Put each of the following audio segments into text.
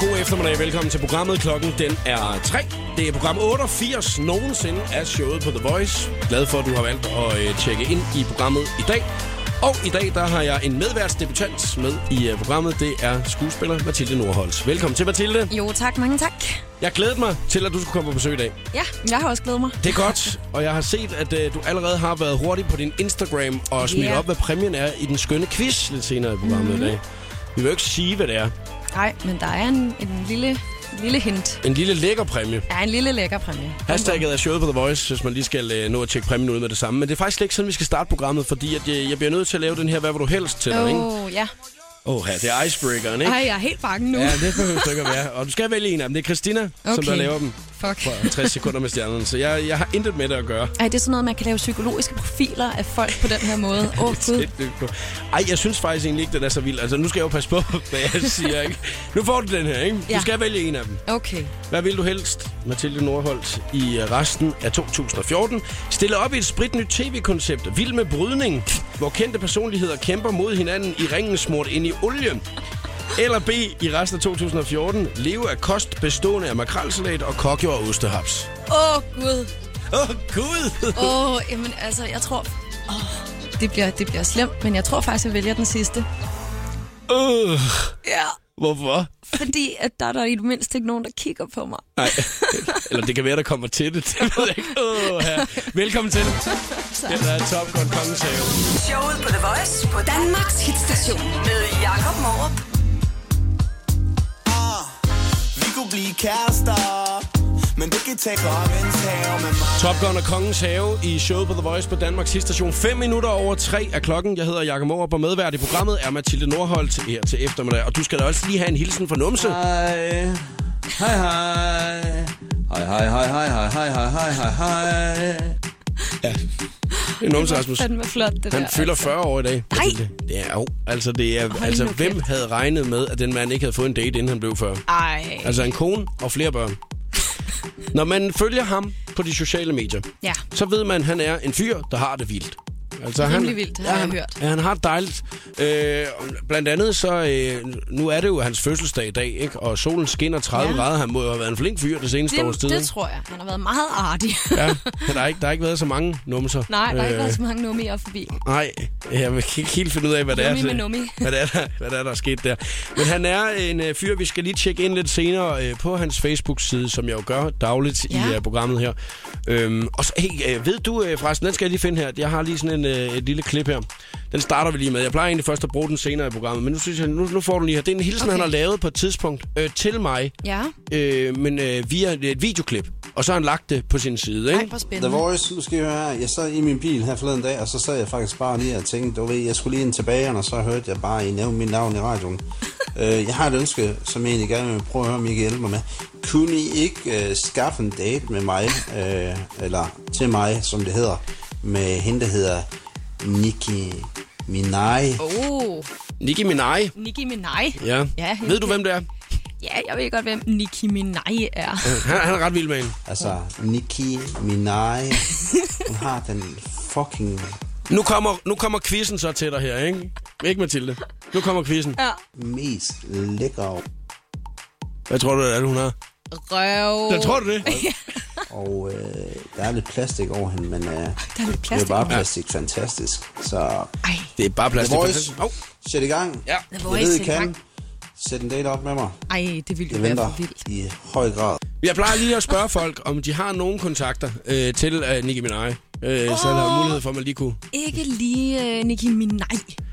god eftermiddag. Velkommen til programmet. Klokken den er 3. Det er program 88 nogensinde af showet på The Voice. Glad for, at du har valgt at øh, tjekke ind i programmet i dag. Og i dag der har jeg en medværtsdebutant med i øh, programmet. Det er skuespiller Mathilde Nordholz. Velkommen til, Mathilde. Jo tak, mange tak. Jeg glædede mig til, at du skulle komme på besøg i dag. Ja, jeg har også glædet mig. Det er godt, og jeg har set, at øh, du allerede har været hurtig på din Instagram og smidt Ja. op, hvad præmien er i den skønne quiz lidt senere i programmet mm-hmm. i dag. Vi vil jo ikke sige, hvad det er. Nej, men der er en, en lille, lille hint. En lille lækker præmie. Der er en lille lækker præmie. Hashtagget er showet på The Voice, hvis man lige skal øh, nå at tjekke præmien ud med det samme. Men det er faktisk slet ikke sådan, vi skal starte programmet, fordi at, øh, jeg, jeg bliver nødt til at lave den her, hvad vil du helst til dig, ikke? Åh, oh, ja. Åh, ja, det er icebreakeren, ikke? Ej, jeg er helt bange nu. Ja, det behøver du ikke at være. Og du skal vælge en af dem. Det er Christina, okay. som Okay. der laver dem Fuck. for 60 sekunder med stjernen. Så jeg, jeg har intet med det at gøre. Ej, det er sådan noget, man kan lave psykologiske profiler af folk på den her måde. Åh, oh, gud. Tæt, du. Ej, jeg synes faktisk egentlig ikke, den er så vild. Altså, nu skal jeg jo passe på, hvad jeg siger, ikke? Nu får du den her, ikke? Du Ja. skal vælge en af dem. Okay. Hvad vil du helst, Mathilde Nordholt, i øh, resten af 2014? Stille op i et spritnyt tv-koncept, Vild med brydning, hvor kendte personligheder kæmper mod hinanden i ringen smurt ind i olie. Eller B i resten af 2014, leve af kost bestående af makrelsalat og kokjord og ostehaps. Åh, oh, gud. Åh, oh, Gud! Åh, oh, jamen altså, jeg tror... Oh, det bliver, det bliver slemt, men jeg tror faktisk, jeg vælger den sidste. Uh, Ja. hvorfor? Fordi at der er der i det mindste ikke nogen, der kigger på mig. Nej. Eller det kan være, der kommer til det. Det ved jeg ikke. Åh, ja. Velkommen til. Det er Top Gun Kongens Have. Showet på The Voice på Danmarks hitstation med Jakob Morup. Vi kunne blive kærester Men det kan tage kongens have med mig Top Gun og Kongens Have i showet på The Voice på Danmarks station. 5 minutter over 3 er klokken. Jeg hedder Jakob Morup, og medvært i programmet er Mathilde Nordholt her til eftermiddag. Og du skal da også lige have en hilsen fra Numse. Hej. Hej, hej. Hej, hej, hej, hej, hej, hej, hej, hej, hej, hej. Det er Numse Rasmus. Den var flot, det Han der. fylder 40 år i dag. Nej. Mathilde. Det er jo. Altså, det er, Hold altså nu hvem kæft. havde regnet med, at den mand ikke havde fået en date, inden han blev 40? Ej. Altså en kone og flere børn. Når man følger ham på de sociale medier, Ja. så ved man, at han er en fyr, der har det vildt. Altså, Rimelig vildt, har jeg han, hørt. Ja, han har det dejligt. Øh, blandt andet så, øh, nu er det jo hans fødselsdag i dag, ikke? og solen skinner 30 ja. Ja. grader. Han må jo have været en flink fyr det seneste års Det, tid. det ikke? tror jeg. Han har været meget artig. ja, men der, er ikke, der har ikke været så mange numser. Øh, Nej, der har ikke været så mange nummier forbi. Nej, jeg kan ikke helt finde ud af, hvad det, er, Nummi med det- nummi. hvad det, er, der, hvad det er, der er sket der. Men han er en øh, fyr, vi skal lige tjekke ind lidt senere øh, på hans Facebook-side, som jeg jo gør dagligt ja. i Ja. øh, programmet her. Øhm, og så, hey, øh, ved du øh, forresten, den skal jeg lige finde her. Jeg har lige sådan en, øh, et lille klip her. Den starter vi lige med. Jeg plejer egentlig først at bruge den senere i programmet, men nu, synes jeg, nu, nu får du den lige her. Det er en hilsen, okay. Okay. han har lavet på et tidspunkt øh, til mig, Ja. øh, men øh, via et videoklip. Og så har han lagt det på sin side, Ej, ikke? hvor The spændende. Voice, nu skal I høre her. Jeg sad i min bil her forleden dag, og så sad jeg faktisk bare lige og tænkte, du ved, jeg skulle lige ind til bageren, og så hørte jeg bare, I nævne mit navn i radioen. Øh, jeg har et ønske, som jeg egentlig gerne vil prøve at høre, om I kan hjælpe mig med. Kunne I ikke øh, skaffe en date med mig, øh, eller til mig, som det hedder, med hende, der hedder Nicki Minaj? Oh, Nicki Minaj. Nicki Minaj. Ja. Ja, helt ved du, vildt. hvem det er? Ja, jeg ved godt, hvem Nicki Minaj er. Han, han er ret vild med hende. Altså, Nicki Minaj, hun har den fucking Nu kommer, nu kommer quizzen så til dig her, ikke? Ikke, Mathilde? Nu kommer quizzen. Ja. mest lækre Hvad tror du, det er, hun har? Røv. Jeg tror du det? Og øh, der er lidt plastik over hende, men øh, der Der er lidt det er plastik. bare plastik ja. fantastisk. Så Ej, Det er bare plastik. The Voice, Oh, sæt i gang. ja. The Jeg ved, Voice I er i kan. gang. Sæt en date op med mig. Ej, det ville jo Jeg være venter for vildt. i høj grad. Jeg plejer lige at spørge folk, om de har nogen kontakter øh, til øh, Nicki Minaj. Øh, oh. Så der er mulighed for, at man lige kunne... Ikke lige uh, Nicki Minaj.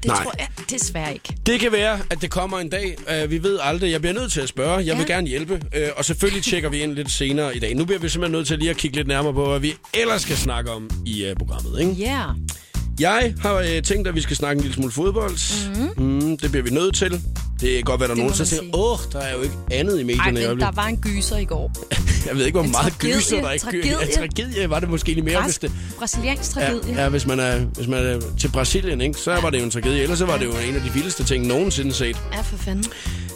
Det Nej. tror jeg desværre ikke. Det kan være, at det kommer en dag. Øh, vi ved aldrig. Jeg bliver nødt til at spørge. Jeg vil Ja. gerne hjælpe. Øh, og selvfølgelig tjekker vi ind lidt senere i dag. Nu bliver vi simpelthen nødt til lige at kigge lidt nærmere på, hvad vi ellers skal snakke om i øh, programmet. Ikke? Ja. Yeah. Jeg har øh, tænkt, at vi skal snakke en lille smule fodbold. Mm. Mm, det bliver vi nødt til. Det kan godt være, der er nogen, Mhm. Det må der man siger, sige. åh, der er jo ikke andet i Ej, medierne i men der øjeblikket. var en gyser i går. Jeg ved ikke, hvor en meget tragedie, gyser der ikke tragedie. Ja, tragedie var det måske lige mere, hvis Græsk, det... brasiliansk tragedie. Ja, ja, hvis man er, hvis man er til Brasilien, ikke, så var det jo en tragedie. Ellers så var det jo en af de vildeste ting nogensinde set. ja, for fanden.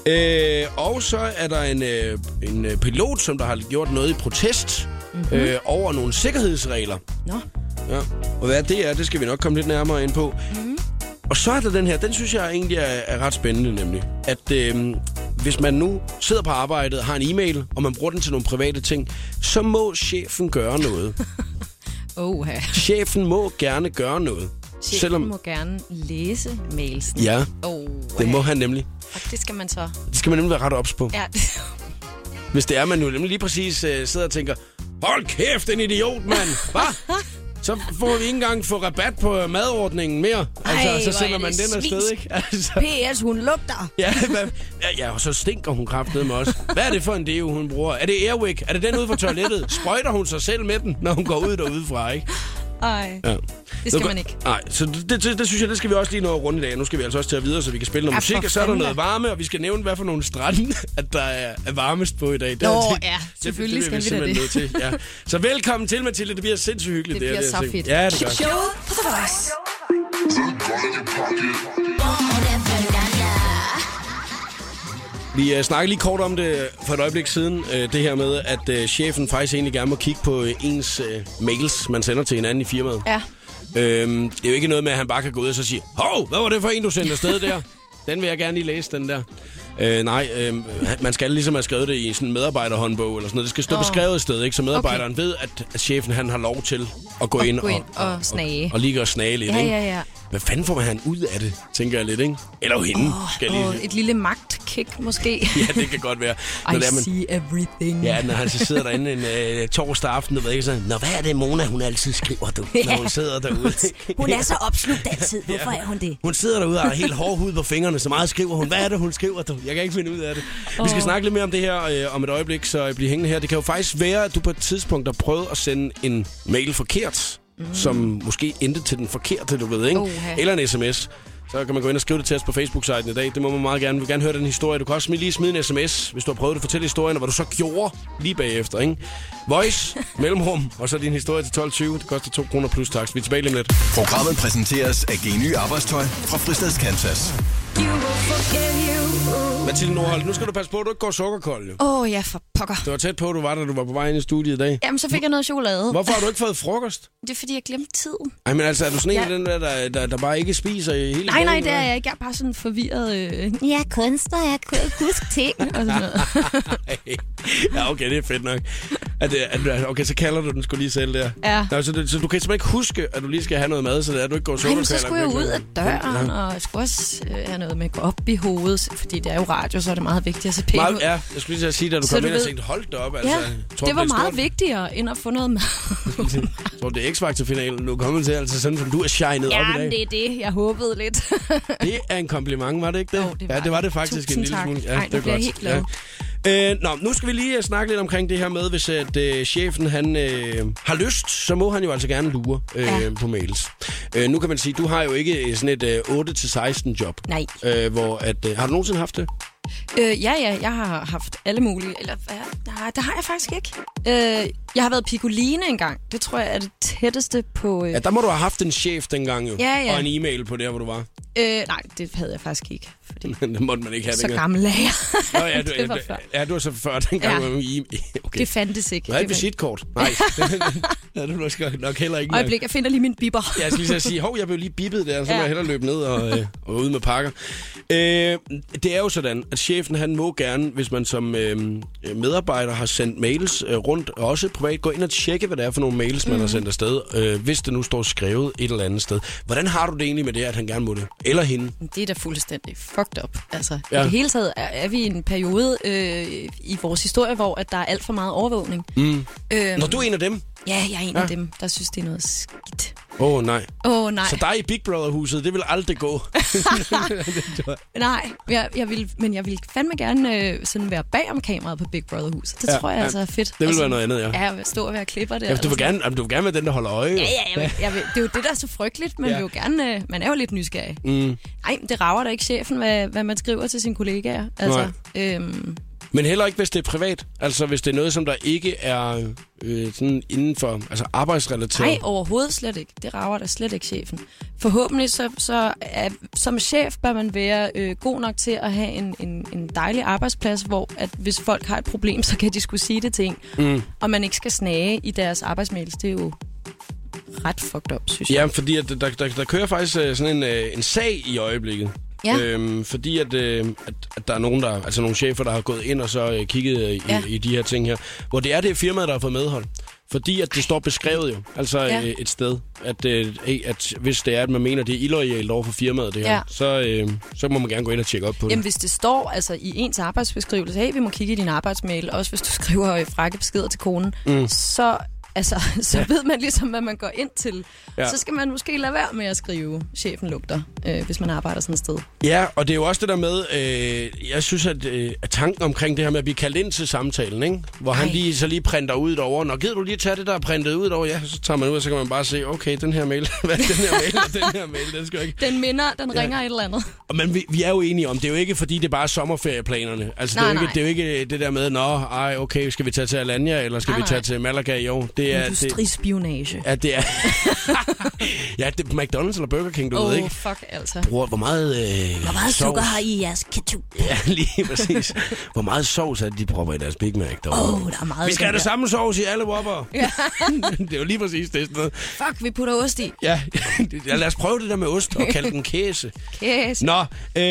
Øh, og så er der en, øh, en øh, pilot, som der har gjort noget i protest Mhm. mm-hmm. øh, over nogle sikkerhedsregler. Nå. Ja. Og hvad det er, det skal vi nok komme lidt nærmere ind Mhm. på. Mm. Og så er der den her, den synes jeg egentlig er, er ret spændende nemlig. At øh, hvis man nu sidder på arbejdet, har en e-mail, og man bruger den til nogle private ting, så må chefen gøre noget. Oh, ja. chefen må gerne gøre noget. Chefen Selvom, må gerne læse mailsen. Ja, Oh, det må han nemlig. Og det skal man så. Det skal man nemlig være ret ops på. Ja. Hvis det er, man jo nemlig lige præcis øh, sidder og tænker, hold kæft, en idiot, mand. Hvad? Så får vi ikke engang få rabat på øh, madordningen mere. Altså, Ej, så hvor sender er man det den afsted, svinsk. ikke? Altså, P.S. Hun lugter. ja, hvad, ja, ja, og så stinker hun kraftedeme også. Hvad er det for en deo, hun bruger? Er det Airwick? Er det den ude fra toilettet? Sprøjter hun sig selv med den, når hun går ud derudefra, ikke? Ej, Ja. det Nå, skal go- man ikke. Nej, så det, det, det, det synes jeg, det skal vi også lige nå at runde i dag. Nu skal vi altså også til at videre, så vi kan spille noget Ja, musik, for og så er der fanden noget da. varme, og vi skal nævne, hvad for nogle strande, at der er er varmest på i dag. Det Nå, er ja, selvfølgelig det, det, skal vi da simpelthen nødt Til, ja. Så velkommen til, Mathilde. Det bliver sindssygt hyggeligt. Det bliver her, så her ting. fedt. Ja, det gør det. Showet på The Voice. Vi uh, snakkede lige kort om det for et øjeblik siden, uh, det her med, at uh, chefen faktisk egentlig gerne må kigge på uh, ens uh, mails, man sender til hinanden i firmaet. Ja. Øhm, det er jo ikke noget med, at han bare kan gå ud og så sige, hov, hvad var det for en, du sendte afsted der? Den vil jeg gerne lige læse, den der. Øh, nej, øh, man skal ligesom have skrevet det i sådan en medarbejderhåndbog eller sådan noget. Det skal stå Nå. beskrevet et sted, ikke? Så medarbejderen okay. ved, at at chefen han har lov til at gå At ind, gå ind og snage. Og, og lige gøre snage lidt, Ja, ikke? ja, ja. Hvad fanden får man han ud af det, tænker jeg lidt, ikke? Eller jo hende, oh, skal jeg lige... Og et lille magtkick måske. Ja, det kan godt være. Når I det er, man- see everything. Ja, når han så sidder derinde en øh, torsdag aften, du ved ikke sådan, Nå, hvad er det, Mona, hun altid skriver, du, når hun sidder derude? Hun er så opslugt altid. Hvorfor er hun det? Hun sidder derude og har helt hård hud på fingrene, så meget skriver hun. Hvad er det, hun skriver? Du? Jeg kan ikke finde ud af det. Vi skal Åh. snakke lidt mere om det her øh, om et øjeblik, så øh, bliv hængende her. Det kan jo faktisk være, at du på et tidspunkt har prøvet at sende en mail forkert, mm. som måske endte til den forkerte, du ved, ikke? Mhm. Oha. Eller en sms. Så kan man gå ind og skrive det til os på Facebook-siden i dag. Det må man meget gerne. Vi vil gerne høre den historie. Du kan også smide- lige smide en sms, hvis du har prøvet at fortælle historien, og hvad du så gjorde lige bagefter. Ikke? Voice, mellemrum, og så din historie til 12.20. Det koster 2 kroner plus tax. Vi er tilbage lige om lidt. Programmet præsenteres af Geny Arbejdstøj fra Fristads Kansas. Mathilde Nordholt, nu skal du passe på, at du ikke går sukkerkold. Jo. Åh, oh, ja, for pokker. Det var tæt på, du var, da du var på vej ind i studiet i dag. Jamen, så fik jeg noget chokolade. Hvorfor har du ikke fået frokost? Det er, fordi jeg glemte tiden. Ej, men altså, er du sådan en af Ja. den der, der, der, der bare ikke spiser i hele Nej, nej, dagen, det er eller jeg ikke. Jeg er bare sådan forvirret. Øh, Jeg er kunstner, jeg kan ikke huske ting. og sådan noget. hvad? ja, okay, det er fedt nok. At, det- at, okay, så kalder du den skulle lige selv der. Ja. Nå, så, du, så du kan simpelthen ikke huske, at du lige skal have noget mad, så det er, at du ikke går Nej, sukkerkald. men så skulle jeg ud af døren, Ja. og jeg skulle også øh, have noget med at gå op i hovedet, fordi det er jo radio, så er det meget vigtigt at se pænt ud. Meget, ja, jeg skulle lige til at sige, da du Så kom du ind og ved- tænkte, hold da op, altså. Ja, jeg det var er meget stort." vigtigere, end at få noget mad. Jeg tror, det er X-Factor-finalen, du er kommet til, altså sådan som du er shined op i dag. Jamen, det er det. Jeg håbede lidt. Det er en kompliment, var det ikke det? Jo, det var ja, det var det. det faktisk Tusind en lille tak. smule. Ja, Ej, nu det er bliver jeg helt glad. Ja. Øh, nå, nu skal vi lige øh, snakke lidt omkring det her med, hvis at, øh, chefen han, øh, har lyst, så må han jo altså gerne lure øh, ja. Ja. på mails. Øh, nu kan man sige, du har jo ikke øh, sådan et øh, 8-16 job. Nej. Øh, hvor at, øh, har du nogensinde haft det? øh, ja, ja, jeg har haft alle mulige. Eller hvad? Nej, det har jeg faktisk ikke. Øh, jeg har været picoline engang. Det tror jeg er det tætteste på... Øh, Ja, der må du have haft en chef dengang jo. Ja, ja. Og en e-mail på der, hvor du var. øh, nej, det havde jeg faktisk ikke. Fordi det måtte man ikke have så dengang. gammel er jeg. Nå, ja, du, det var ja, før. du, ja, du var så før dengang. Ja. Ja. Okay. Det fandtes ikke. du havde et Det var ikke- visitkort. Nej, det er du nok- nok heller ikke. engang. Øjeblik, jeg finder lige min biber. Ja, jeg skal lige så sige, hov, jeg blev lige bippet der, så må Ja. jeg hellere løbe ned og, øh, og ud med pakker. Øh, det er jo sådan, at chefen han må gerne, hvis man som øh, medarbejder har sendt mails øh, rundt, og også privat, gå ind og tjekke, hvad det er for nogle mails, Mhm. man har sendt afsted, øh, hvis det nu står skrevet et eller andet sted. Hvordan har du det egentlig med det, at han gerne må det? Eller hende? Det er da fuldstændig fucked up. Altså, ja. Ja. I det hele taget er, er vi i en periode øh, i vores historie, hvor at der er alt for meget overvågning. Mm. Øhm, Når du er en af dem? Ja, jeg er en Ja. ja. af dem, der synes, det er noget skidt. Åh, oh, nej. Åh oh, nej, Så dig i Big Brother-huset, det vil aldrig gå. nej. Jeg, jeg vil, men jeg vil fandme gerne øh, sådan være bag om kameraet på Big Brother Hus. Det Ja, ja, tror jeg ja. altså er fedt. Det vil Og være sådan- noget andet, ja. Ja, jeg stå og være klipper der. Ja, du, eller vil sådan. gerne, jamen, du vil gerne være den, der holder øje. Ja, ja, jeg vil, jeg vil, det er jo det, der er så frygteligt. Man, ja. vil jo gerne, øh, man er jo lidt nysgerrig. Mm. Ej, men det rager da ikke chefen, hvad, hvad man skriver til sine kollegaer. Altså, øhm, Men heller ikke, hvis det er privat. Altså, hvis det er noget, som der ikke er øh, sådan inden for altså arbejdsrelateret. Nej, overhovedet slet ikke. Det rager da slet ikke chefen. Forhåbentlig så, så er, som chef bør man være øh, god nok til at have en, en, en dejlig arbejdsplads, hvor at hvis folk har et problem, så kan de skulle sige det til en. Mm. Og man ikke skal snage i deres arbejdsmails. Det er jo ret fucked up, synes jeg. Ja, fordi at der, der, der kører faktisk øh, sådan en, øh, en sag i øjeblikket Ja. Øhm, fordi at, øh, at, at der er nogen, der, altså nogle chefer, der har gået ind og så øh, kigget øh, i, ja. Ja. i de her ting her. Hvor det er det firma, der har fået medhold. Fordi at det står beskrevet jo, altså ja. Ja. øh, et sted, at, øh, hey, at hvis det er, at man mener, det er illoyalt over for firmaet, det her, ja. Ja. så, øh, så må man gerne gå ind og tjekke op på Jamen, det. hvis det står altså, i ens arbejdsbeskrivelse, hey, vi må kigge i din arbejdsmail, også hvis du skriver øh, frække beskeder til konen, mm. så, altså, så ja. ved man ligesom, hvad man går ind til. Ja. Ja. Så skal man måske lade være med at skrive, chefen lugter, øh, hvis man arbejder sådan et sted. Ja, og det er jo også det der med, øh, jeg synes, at, øh, at tanken omkring det her med at blive kaldt ind til samtalen, ikke? hvor Ej. han Ej. lige, så lige printer ud over, når gider du lige tage det, der er printet ud over, ja, så tager man ud, og så kan man bare se, okay, den her mail, hvad er den her mail, og den her mail, den skal jeg ikke. Den minder, den ringer et eller andet. Og Men vi, vi er jo enige om, det er jo ikke fordi, det er bare sommerferieplanerne. Altså, Nej, det, er jo nej. ikke, det er jo ikke det der med, nå, ej, okay, skal vi tage til Alanya, eller skal nej, Nej, vi tage nej. til Malaga i år? Det er, det, Industrispionage. ja, det er, ja, det er McDonald's eller Burger King, du Åh, ved oh, ikke. fuck altså. Bror, hvor meget... Øh, Hvor meget sovs- sukker har I i jeres ketchup? Ja, lige præcis. Hvor meget sovs er det, de propper i deres Big Mac derovre? Åh, der er meget Vi skal i have den det der. samme sovs i alle whopper. Ja. det er jo lige præcis det sådan noget. Fuck, vi putter ost i. Ja, Ja, lad os prøve det der med ost og kalde den kæse. Yes. Nå, øh,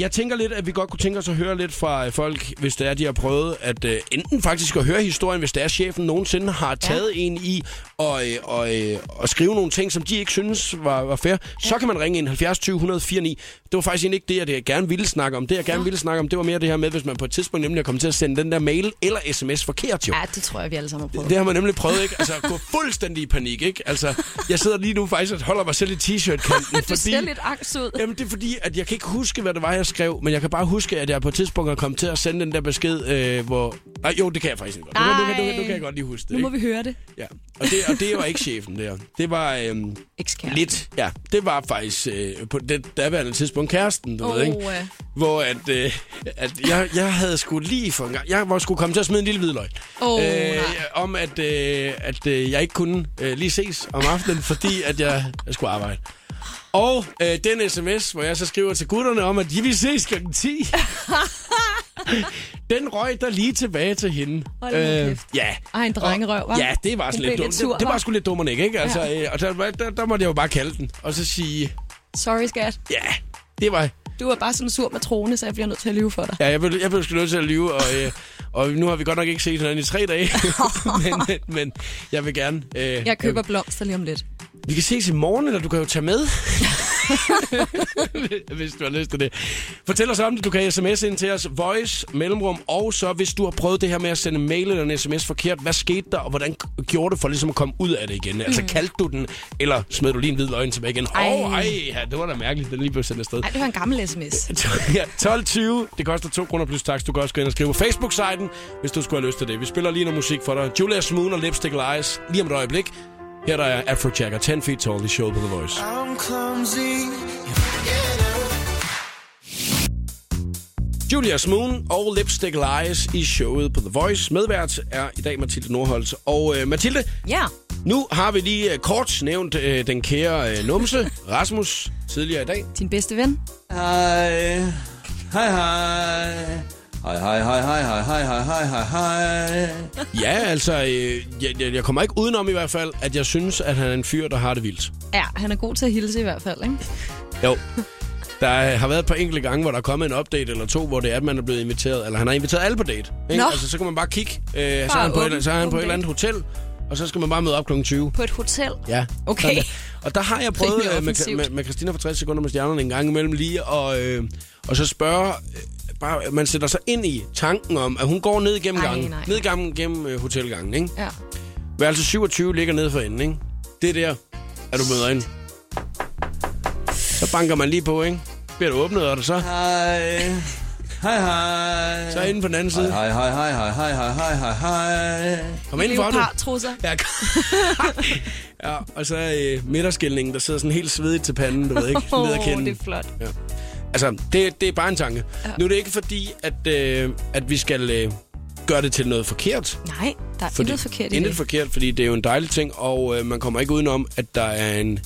jeg tænker lidt, at vi godt kunne tænke os at høre lidt fra øh, folk, hvis det er, de har prøvet at øh, enten faktisk at høre historien, hvis det er, chefen nogensinde har taget ja. en i og, øh, og, øh, og skrive nogle ting, som de ikke synes var, var fair, ja. så kan man ringe ind 70 20 149. Det var faktisk egentlig ikke det, jeg, det, jeg gerne ville snakke om. Det, jeg gerne ville snakke om, det var mere det her med, hvis man på et tidspunkt nemlig er kommet til at sende den der mail eller sms forkert jo. Ja, det tror jeg, vi alle sammen har prøvet. Det har man nemlig prøvet, ikke? Altså, at gå fuldstændig i panik, ikke? Altså, jeg sidder lige nu faktisk og holder mig selv i t-shirt-kanten, Du fordi... ser lidt angst ud. Jamen, det er fordi, at jeg kan ikke huske, hvad det var, jeg skrev, men jeg kan bare huske, at jeg på et tidspunkt er kommet til at sende den der besked, øh, hvor... Nej, jo, det kan jeg faktisk ikke godt. Nu, kan- nu, kan- nu, kan- nu kan jeg godt lige huske det, Nu må ikke? vi høre det. Ja. Og, det, og det var ikke chefen der. Det var øh, Ekskæresten. lidt... Ja, det var faktisk øh, på det daværende tidspunkt kæresten, du oh, ved, Åh, ikke? øh. Hvor at, øh, at jeg, jeg havde sgu lige for en gang... Jeg var skulle komme til at smide en lille hvidløg. Åh, nej. om, at, øh, at øh, jeg ikke kunne øh, lige ses om aftenen, fordi at jeg, jeg skulle arbejde. Og øh, den sms, hvor jeg så skriver til gutterne om, at de vil ses kl. 10. den røg der lige tilbage til hende. Øh, Hold nu kæft. ja. Ej, en drengerøv, hva'? Ja, det var Hun sådan blev lidt dumt. lidt sur, Det, det var hva'? sgu lidt dumt, ikke? ikke? Altså, øh, og der, var- der, der, måtte jeg jo bare kalde den. Og så sige, Sorry, skat. ja, det var Du er bare sådan en sur matrone, så jeg bliver nødt til at lyve for dig. Ja, jeg blev, jeg blev sgu nødt til at lyve, og, øh, og nu har vi godt nok ikke set hinanden i tre dage, men, men, men jeg vil gerne... Øh, Jeg køber blomster lige om lidt. Vi kan ses i morgen, eller du kan jo tage med. hvis du har lyst til det. Fortæl os om det. Du kan sms ind til os. Voice, mellemrum. Og så, hvis du har prøvet det her med at sende mail eller en sms forkert, hvad skete der, og hvordan k- gjorde du for ligesom at komme ud af det igen? Altså, kaldte du den, eller smed du lige en hvid løgn tilbage igen? Åh, Ej. oh, ej, ja, det var da mærkeligt, den lige blev sendt afsted. Ej, det var en gammel sms. Ja, 12.20. Det koster 2 kroner plus tax. Du kan også gå ind og skrive på Facebook-siden, hvis du skulle have lyst til det. Vi spiller lige noget musik for dig. Julia Smoon og Lipstick Lies. Lige om et øjeblik. Her der er Afrojack og 10 Feet Tall i showet på The Voice. I'm clumsy. Julia Smoon og Lipstick Lies i showet på The Voice. Medvært er i dag Mathilde Nordholt. Og øh, Mathilde, Ja. nu har vi lige øh, kort nævnt øh, den kære øh, numse, Rasmus, tidligere i dag. Din bedste ven. Hej. Hej, hej. Hej, hej, hej, hej, hej, hej, hej, hej, hej, hej. Ja, altså, øh, jeg, jeg, jeg kommer ikke udenom i hvert fald, at jeg synes, at han er en fyr, der har det vildt. Ja, han er god til at hilse i hvert fald, ikke? Jo. Der øh, har været et par enkelte gange, hvor der er kommet en update eller to, hvor det er, at man er blevet inviteret. Eller han har inviteret alle på date. Ikke? Nå. Altså, så kan man bare kigge. Øh, så er Bare han på, et, åben- så er han på et åben eller andet hotel, og så skal man bare møde op kl. 20. På et hotel. Ja. Okay. Sådan der. Og der har jeg prøvet Rimelig øh, med, offensivt. med, med Christina for 60 sekunder med stjernerne en gang imellem lige, og, øh, og så spørge... Øh, bare, man sætter sig ind i tanken om, at hun går ned gennem Ej, gangen. nej. Ned gennem, gennem øh, hotelgangen, ikke? Ja. Værelse 27 ligger nede for enden, ikke? Det er der, at du møder ind. Så banker man lige på, ikke? Bliver du åbnet, og det så? Hej. Hej, hej. Så er inde på den anden Hej, side. hej, hej, hej, hej, hej, hej, hej, hej, hej. Kom ind for du. trusser. Ja, kom. ja, og så øh, midterskældningen, der sidder sådan helt svedigt til panden, du ved ikke? Åh, Ned ad oh, kinden. det er flot. Altså, det, det er bare en tanke. Ja. Nu er det ikke fordi, at, øh, at vi skal øh, gøre det til noget forkert. Nej, der er intet forkert i intet det. forkert, fordi det er jo en dejlig ting, og øh, man kommer ikke udenom, at der er en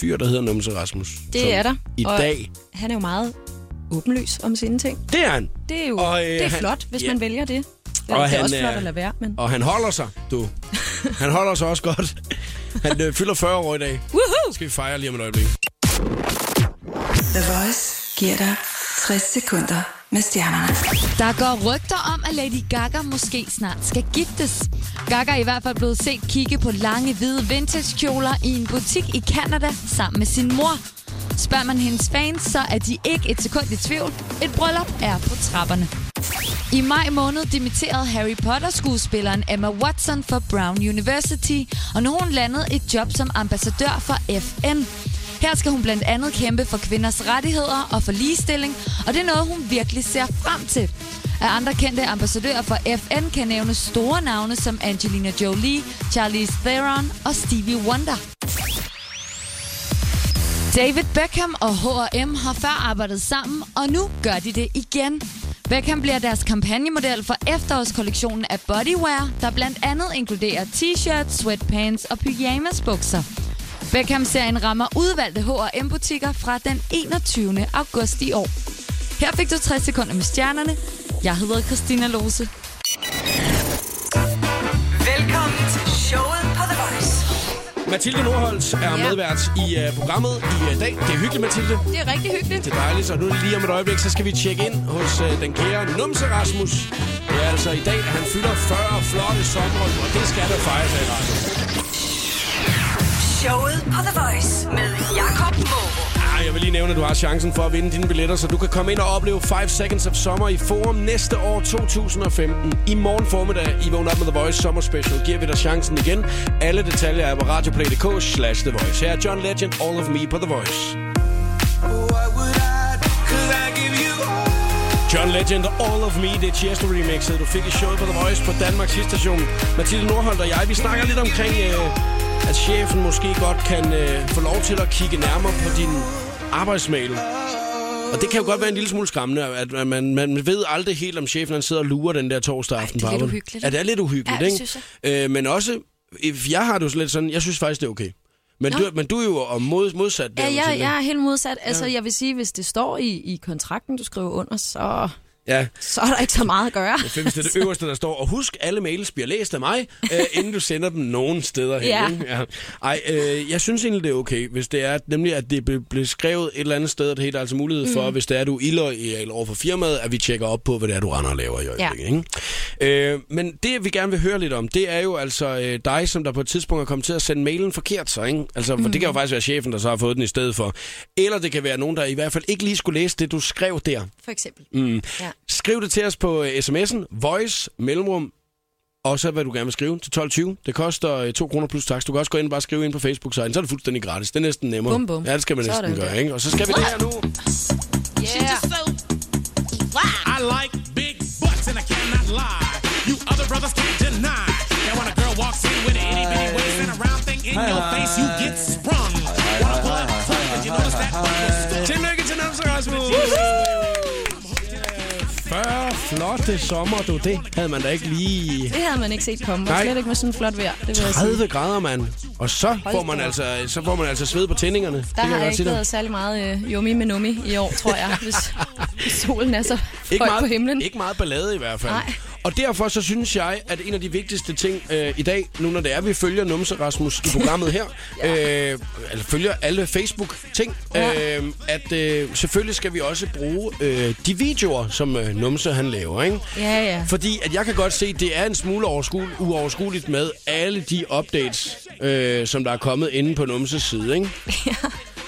fyr, der hedder Numse Rasmus. Det som er der. I Og- dag. Han er jo meget åbenlys om sine ting. Det er han. Det er jo Og, øh, det er han- flot, hvis ja. man vælger det. Det Og er han også flot er- at lade være, men... Og han holder sig, du. Han holder sig også godt. Han øh, fylder 40 år i dag. Woohoo! Skal vi fejre lige om et øjeblik. The Voice giver dig 60 sekunder med stjernerne. Der går rygter om, at Lady Gaga måske snart skal giftes. Gaga er i hvert fald blevet set kigge på lange hvide vintagekjoler i en butik i Canada sammen med sin mor. Spørger man hendes fans, så er de ikke et sekund i tvivl. Et bryllup er på trapperne. I maj måned dimitterede Harry Potter-skuespilleren Emma Watson for Brown University, og nu er hun landet et job som ambassadør for FN. Her skal hun blandt andet kæmpe for kvinders rettigheder og for ligestilling, og det er noget, hun virkelig ser frem til. Af andre kendte ambassadører for FN kan nævne store navne som Angelina Jolie, Charlize Theron og Stevie Wonder. David Beckham og H&M har før arbejdet sammen, og nu gør de det igen. Beckham bliver deres kampagnemodel for efterårskollektionen af bodywear, der blandt andet inkluderer t-shirts, sweatpants og pyjamasbukser. Beckham-serien rammer udvalgte H&M-butikker fra den 21. august i år. Her fik du 60 sekunder med stjernerne. Jeg hedder Christina Lose. Velkommen til showet på The Voice. Mathilde Nordholz er Ja. medvært i øh, programmet i øh, dag. Det er hyggeligt, Mathilde. Det er rigtig hyggeligt. Det er dejligt, så nu er det lige om et øjeblik, så skal vi tjekke ind hos øh, den kære Numse Rasmus. Det er altså i dag, han fylder 40 flotte sommer, og det skal der fejres af i radioen. Showet på The Voice med Jakob Morup. Ah, jeg vil lige nævne, at du har chancen for at vinde dine billetter, så du kan komme ind og opleve 5 Seconds of Summer i Forum næste år 2015. I morgen formiddag i Vågn Up med The Voice Summer Special giver vi dig chancen igen. Alle detaljer er på radioplay.dk slash The Voice. Her er John Legend, All of Me på The Voice. What would I do? Could I give you all? John Legend og All of Me, det er Tiesto remixet, du fik i showet på The Voice på Danmarks station. Mathilde Nordholt og jeg, vi snakker lidt omkring, øh, at chefen måske godt kan øh, få lov til at kigge nærmere på din arbejdsmail. Og det kan jo godt være en lille smule skræmmende, at at man, man ved aldrig helt, om chefen han sidder og lurer den der torsdag aften. det er på lidt arbejde. uhyggeligt, Ja, ikke? det er lidt uhyggeligt, Ja, det ikke? Øh, men også, if- jeg har det jo lidt sådan, jeg synes faktisk, det er okay. Men, Nå. du, men du er jo om mod, modsat. der, Ja, jeg, Mathilde. jeg er helt modsat. Altså, jeg vil sige, hvis det står i, i kontrakten, du skriver under, så, ja. så er der ikke så meget at gøre. Det findes det, det øverste, der står. Og husk, alle mails bliver læst af mig, øh, inden du sender dem nogen steder hen. Ja. ikke? Ja. Ej, øh, jeg synes egentlig, det er okay, hvis det er, nemlig at det blev- blev skrevet et eller andet sted, og det hedder altså mulighed for, Mm. hvis det er, du ilder i- eller over for firmaet, at vi tjekker op på, hvad det er, du render og laver i øjeblikket. Ja. Ikke? Øh, men det, vi gerne vil høre lidt om, det er jo altså øh, dig, som der på et tidspunkt er kommet til at sende mailen forkert. Så, ikke? Altså, for det Mhm. kan jo faktisk være chefen, der så har fået den i stedet for. Eller det kan være nogen, der i hvert fald ikke lige skulle læse det, du skrev der. For eksempel. Mm. Ja. Ja. Skriv det til os på øh, sms'en, voice, mellemrum, og så hvad du gerne vil skrive til 12.20. Det koster øh, 2 kroner plus tax. Du kan også gå ind og bare skrive ind på Facebook-siden, så er det fuldstændig gratis. Det er næsten nemmere. Bum, bum. Ja, det skal man Sådan næsten gøre, der. ikke? Og så skal vi det her nu. Yeah. I like big butts and I cannot lie. You other brothers can't deny. Now when a girl walks in with an itty bitty waist and a round thing in your face, you get sprung. Wanna pull out the plug, but you notice that butt was stuck. Tillykke til Namse Rasmus! 40 flotte sommer, du. Det havde man da ikke lige... Det havde man ikke set komme. Og Nej. slet ikke med sådan en flot vejr. Det vil jeg sige. 30 grader, mand. Og så får man da op. altså, så får man altså sved på tændingerne. det Der kan har jeg jeg godt ikke sige dig. været særlig meget øh, yummy med nummi i år, tror jeg, hvis, hvis solen er så høj meget, på himlen. Ikke meget ballade i hvert fald. Nej. Nej. Og derfor så synes jeg, at en af de vigtigste ting øh, i dag, nu når det er, at vi følger Numse Rasmus i programmet her, øh, eller følger alle Facebook-ting, Ja. øh, at øh, selvfølgelig skal vi også bruge øh, de videoer, som øh, Numse han laver. Ikke? Ja, ja. Fordi at jeg kan godt se, at det er en smule overskuel, uoverskueligt med alle de updates, øh, som der er kommet inde på Numses side. Ikke?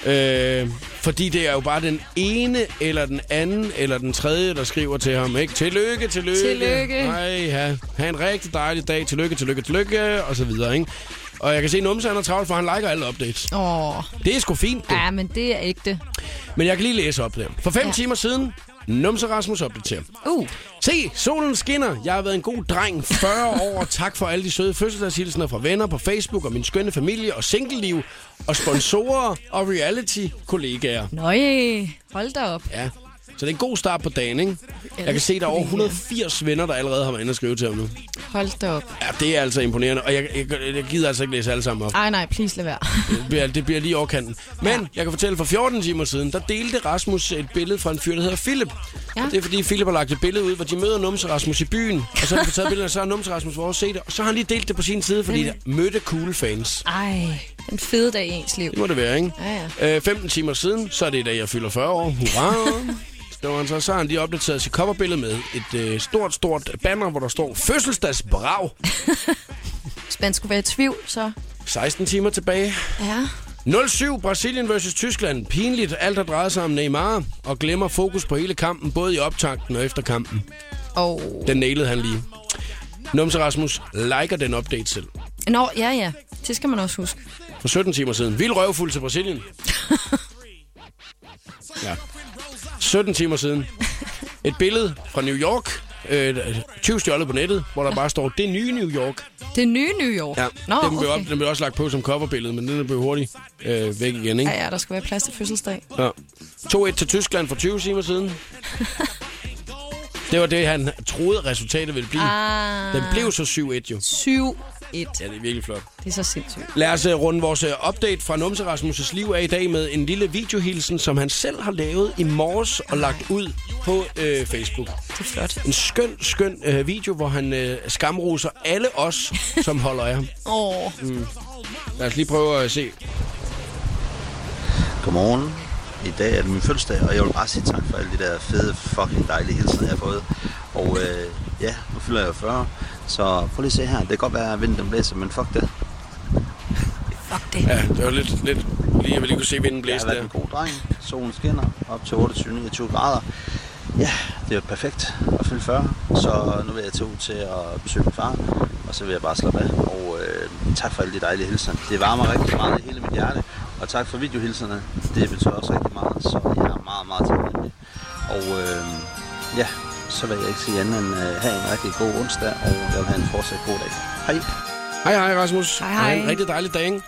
Øh, fordi det er jo bare den ene, eller den anden, eller den tredje, der skriver til ham, ikke? Tillykke, tillykke. Tillykke. Nej, ja. Ha' en rigtig dejlig dag. Tillykke, tillykke, tillykke, og så videre, ikke? Og jeg kan se, at Numse han er travlt, for han liker alle updates. Åh, Det er sgu fint, det. ja, men det er ægte. Men jeg kan lige læse op der. For fem ja. Ja. timer siden, Numse Rasmus opdaterer. Uh, Se, solen skinner. Jeg har været en god dreng. 40 år. Tak for alle de søde fødselsdagshilsener fra venner på Facebook og min skønne familie og singleliv og sponsorer og reality-kollegaer. nøje. Hold da op. Ja. Så det er en god start på dagen, ikke? Jeg kan se, der er over 180 venner, der allerede har været inde og skrive til ham nu. Hold da op. Ja, det er altså imponerende, og jeg, jeg, jeg gider altså ikke læse alle sammen op. Ej, nej, please lad være. Det bliver, det bliver lige overkanten. Men jeg kan fortælle, for 14 timer siden, der delte Rasmus et billede fra en fyr, der hedder Philip, Ja. Og det er fordi Philip har lagt et billede ud, hvor de møder Numse Rasmus i byen. Og så har de fået taget billedet, og så har Numse Rasmus vores set det. Og så har han lige delt det på sin side, fordi Ja. der mødte cool fans. Ej, den fede dag i ens liv. Det må det være, ikke? Ja, Øh, 15 timer siden, så er det i dag, jeg fylder 40 år. Hurra! Står han så, så har han lige opdateret sit coverbillede med et øh, stort, stort banner, hvor der står fødselsdagsbrag. Hvis man skulle være i tvivl, så... 16 timer tilbage. Ja. 0-7 Brasilien vs. Tyskland. Pinligt, alt har drejet sig om Neymar, og glemmer fokus på hele kampen, både i optakten og efter kampen. Og... Den nailede han lige. Numse Rasmus liker den update selv. Nå, ja, ja. Det skal man også huske. For 17 timer siden. Vild røvfuld til Brasilien. ja. 17 timer siden. Et billede fra New York. Øh, 20 stjålet på nettet, hvor der bare står, det nye New York. Det nye New York. Ja, Nå, den, blev op, okay. den blev også lagt på som coverbillede, men den blev hurtigt øh, væk igen, ikke? Ja, ja, der skal være plads til fødselsdag. Ja. 2-1 til Tyskland for 20 timer siden. det var det, han troede resultatet ville blive. Ah. Den blev så 7-1 jo. 7-1. Ja, det er virkelig flot. Det er så sindssygt. Lad os øh, runde vores øh, update fra Numse Rasmus' liv af i dag med en lille videohilsen, som han selv har lavet i morges og lagt ud på øh, Facebook. Det er flot. En skøn, skøn øh, video, hvor han øh, skamroser alle os, som holder af ham. Åh. Mm. Lad os lige prøve at se. Godmorgen. I dag er det min fødselsdag, og jeg vil bare sige tak for alle de der fede, fucking dejlige hilsener, jeg har fået. Og øh, ja, nu fylder jeg jo 40, så prøv lige at se her. Det kan godt være, at vinden den blæser, men fuck det. Ja, det var lidt, lidt lige, jeg ville lige kunne se vinden Jeg blæse har været en der. god dreng. Solen skinner op til 28-29 grader. Ja, det er jo perfekt at fylde 40. Så nu vil jeg tage ud til at besøge min far, og så vil jeg bare slappe af. Og øh, tak for alle de dejlige hilsener. Det varmer rigtig meget i hele mit hjerte. Og tak for videohilserne. Det betyder også rigtig meget, så jeg er meget, meget taknemmelig. Og øh, ja, så vil jeg ikke sige andet end øh, have en rigtig god onsdag, og jeg vil have en fortsat god dag. Hej! Hej, hej Rasmus. Hej, hej. Og En rigtig dejlig dag, ikke?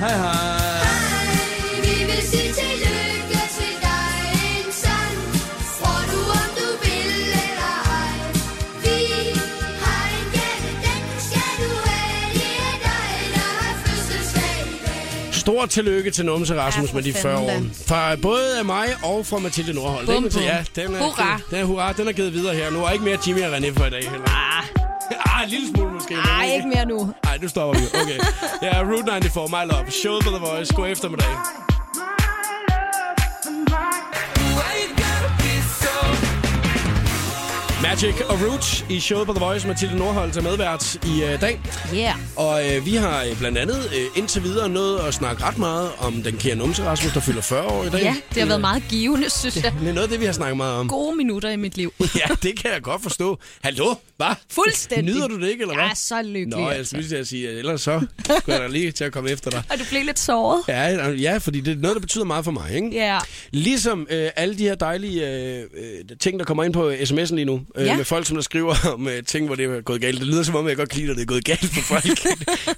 Hej, hej. Vi vil sige tillykke til dig en sang. Tror du, om du vil eller ej. Vi har en gave, den skal du have. Det er dig, der har fødselsdag i dag. Stort tillykke til Numse Rasmus med de 40 år. fanden da. Fra både mig og fra Mathilde Nordholt. Bum, ikke? bum. Ja, den er, Hurra. Den, den er hurra. Den er givet videre her. Nu er ikke mere Jimmy og René for i dag heller. Ah, en lille smule måske. Ej, ikke mere nu. Nej, nu stopper vi. Okay. Ja, Route 94, My Love. Show for The Voice. God eftermiddag. Magic og Roots i showet på The Voice. Mathilde Nordholt er medvært i øh, dag. Yeah. Og øh, vi har øh, blandt andet øh, indtil videre nået at snakke ret meget om den kære numse Rasmus, der fylder 40 år i dag. Ja, det har været meget givende, synes jeg. Det er noget af det, vi har snakket meget om. Gode minutter i mit liv. Ja, det kan jeg godt forstå. Hallo? Hvad? Fuldstændig. Nyder du det ikke, eller hvad? Jeg er så lykkelig. Nå, jeg altså. skulle lige til at sige, ellers så skulle jeg da lige til at komme efter dig. Og du blev lidt såret. Ja, ja, fordi det er noget, der betyder meget for mig, ikke? Ja. Ligesom øh, alle de her dejlige øh, øh, ting, der kommer ind på sms'en lige nu, øh, Ja. med folk, som der skriver om øh, ting, hvor det er gået galt. Det lyder som om, jeg godt kan lide, at det er gået galt for folk.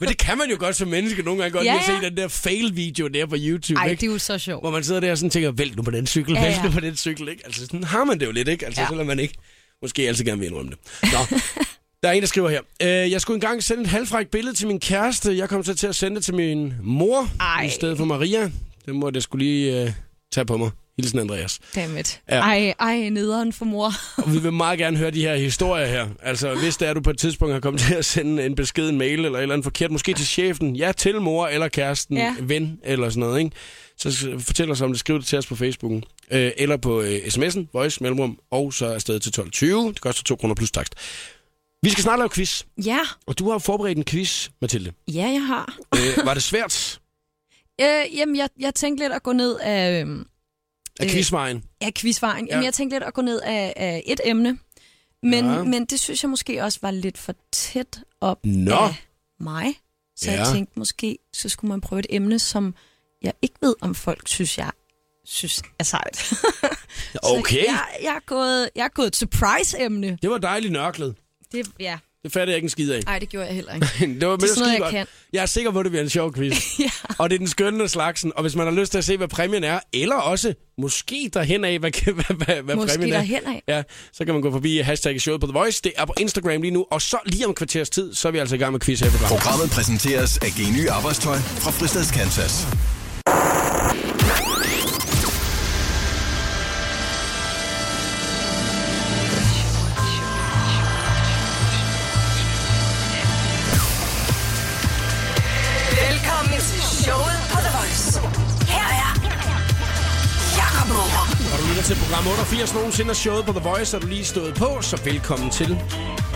Men det kan man jo godt som menneske nogle gange godt Ja, ja, lide at ja. se den der fail-video der på YouTube, Ej, ikke? det er jo så sjovt. Hvor man sidder der og sådan tænker, vælt nu på den cykel, Ja, ja, ja. vælt nu på den cykel, ikke? Altså sådan har man det jo lidt, ikke? Altså Ja. ja. selvom man ikke måske altid gerne vil indrømme det. Nå. Der er en, der skriver her. Øh, jeg skulle engang sende et halvfrækt billede til min kæreste. Jeg kom så til at sende det til min mor Ej. i stedet for Maria. Det må jeg skulle lige øh, tage på mig. Hilsen Andreas. Dammit. Ja. Ej, ej, nederen for mor. Og vi vil meget gerne høre de her historier her. Altså, hvis det er, du på et tidspunkt har kommet til at sende en besked, en mail eller et eller andet forkert, måske til chefen, ja, til mor eller kæresten, Ja. ja. ven eller sådan noget, ikke? Så s- fortæl os om det, skriv det til os på Facebooken, øh, eller på øh, sms'en, voice, mellemrum, og så afsted til 12.20. Det koster 2 kroner plus takst. Vi skal snart lave quiz, Ja, og du har forberedt en quiz, Mathilde. ja, jeg har. Øh, var det svært Øh, jamen, jeg, jeg tænkte lidt at gå ned af... øhm, af quizvejen? Ja, quizvejen. Ja. Jamen, Ja. jeg tænkte lidt at gå ned af, af et emne. Men, ja. Ja. men det synes jeg måske også var lidt for tæt op Nå. af mig. Så ja. jeg Ja. tænkte måske, så skulle man prøve et emne, som jeg ikke ved, om folk synes, jeg synes er sejt. Okay. Så jeg, jeg, er gået, jeg er gået et surprise-emne. Det var dejligt nørklet. Det, ja. Det fatter jeg ikke en skid af. Nej, det gjorde jeg heller ikke. det var, men Det er sådan skide noget, jeg godt. kan. Jeg er sikker på, at det bliver en sjov quiz. ja. Og det er den skønne slagsen. Og hvis man har lyst til at se, hvad præmien er, eller også måske derhen af, hvad, hvad, hvad, hvad Måske præmien er. derhenad. Ja, så kan man gå forbi hashtag showet på The Voice. Det er på Instagram lige nu. Og så lige om et kvarters tid, så er vi altså i gang med quiz her i programmet. Programmet præsenteres af Geny Arbejdstøj fra Fristads Kansas. Velkommen til showet på The Voice. Her er Jakob Morup. Og du lytter til program 88 nogensinde af showet på The Voice, og du lige stået på, så velkommen til.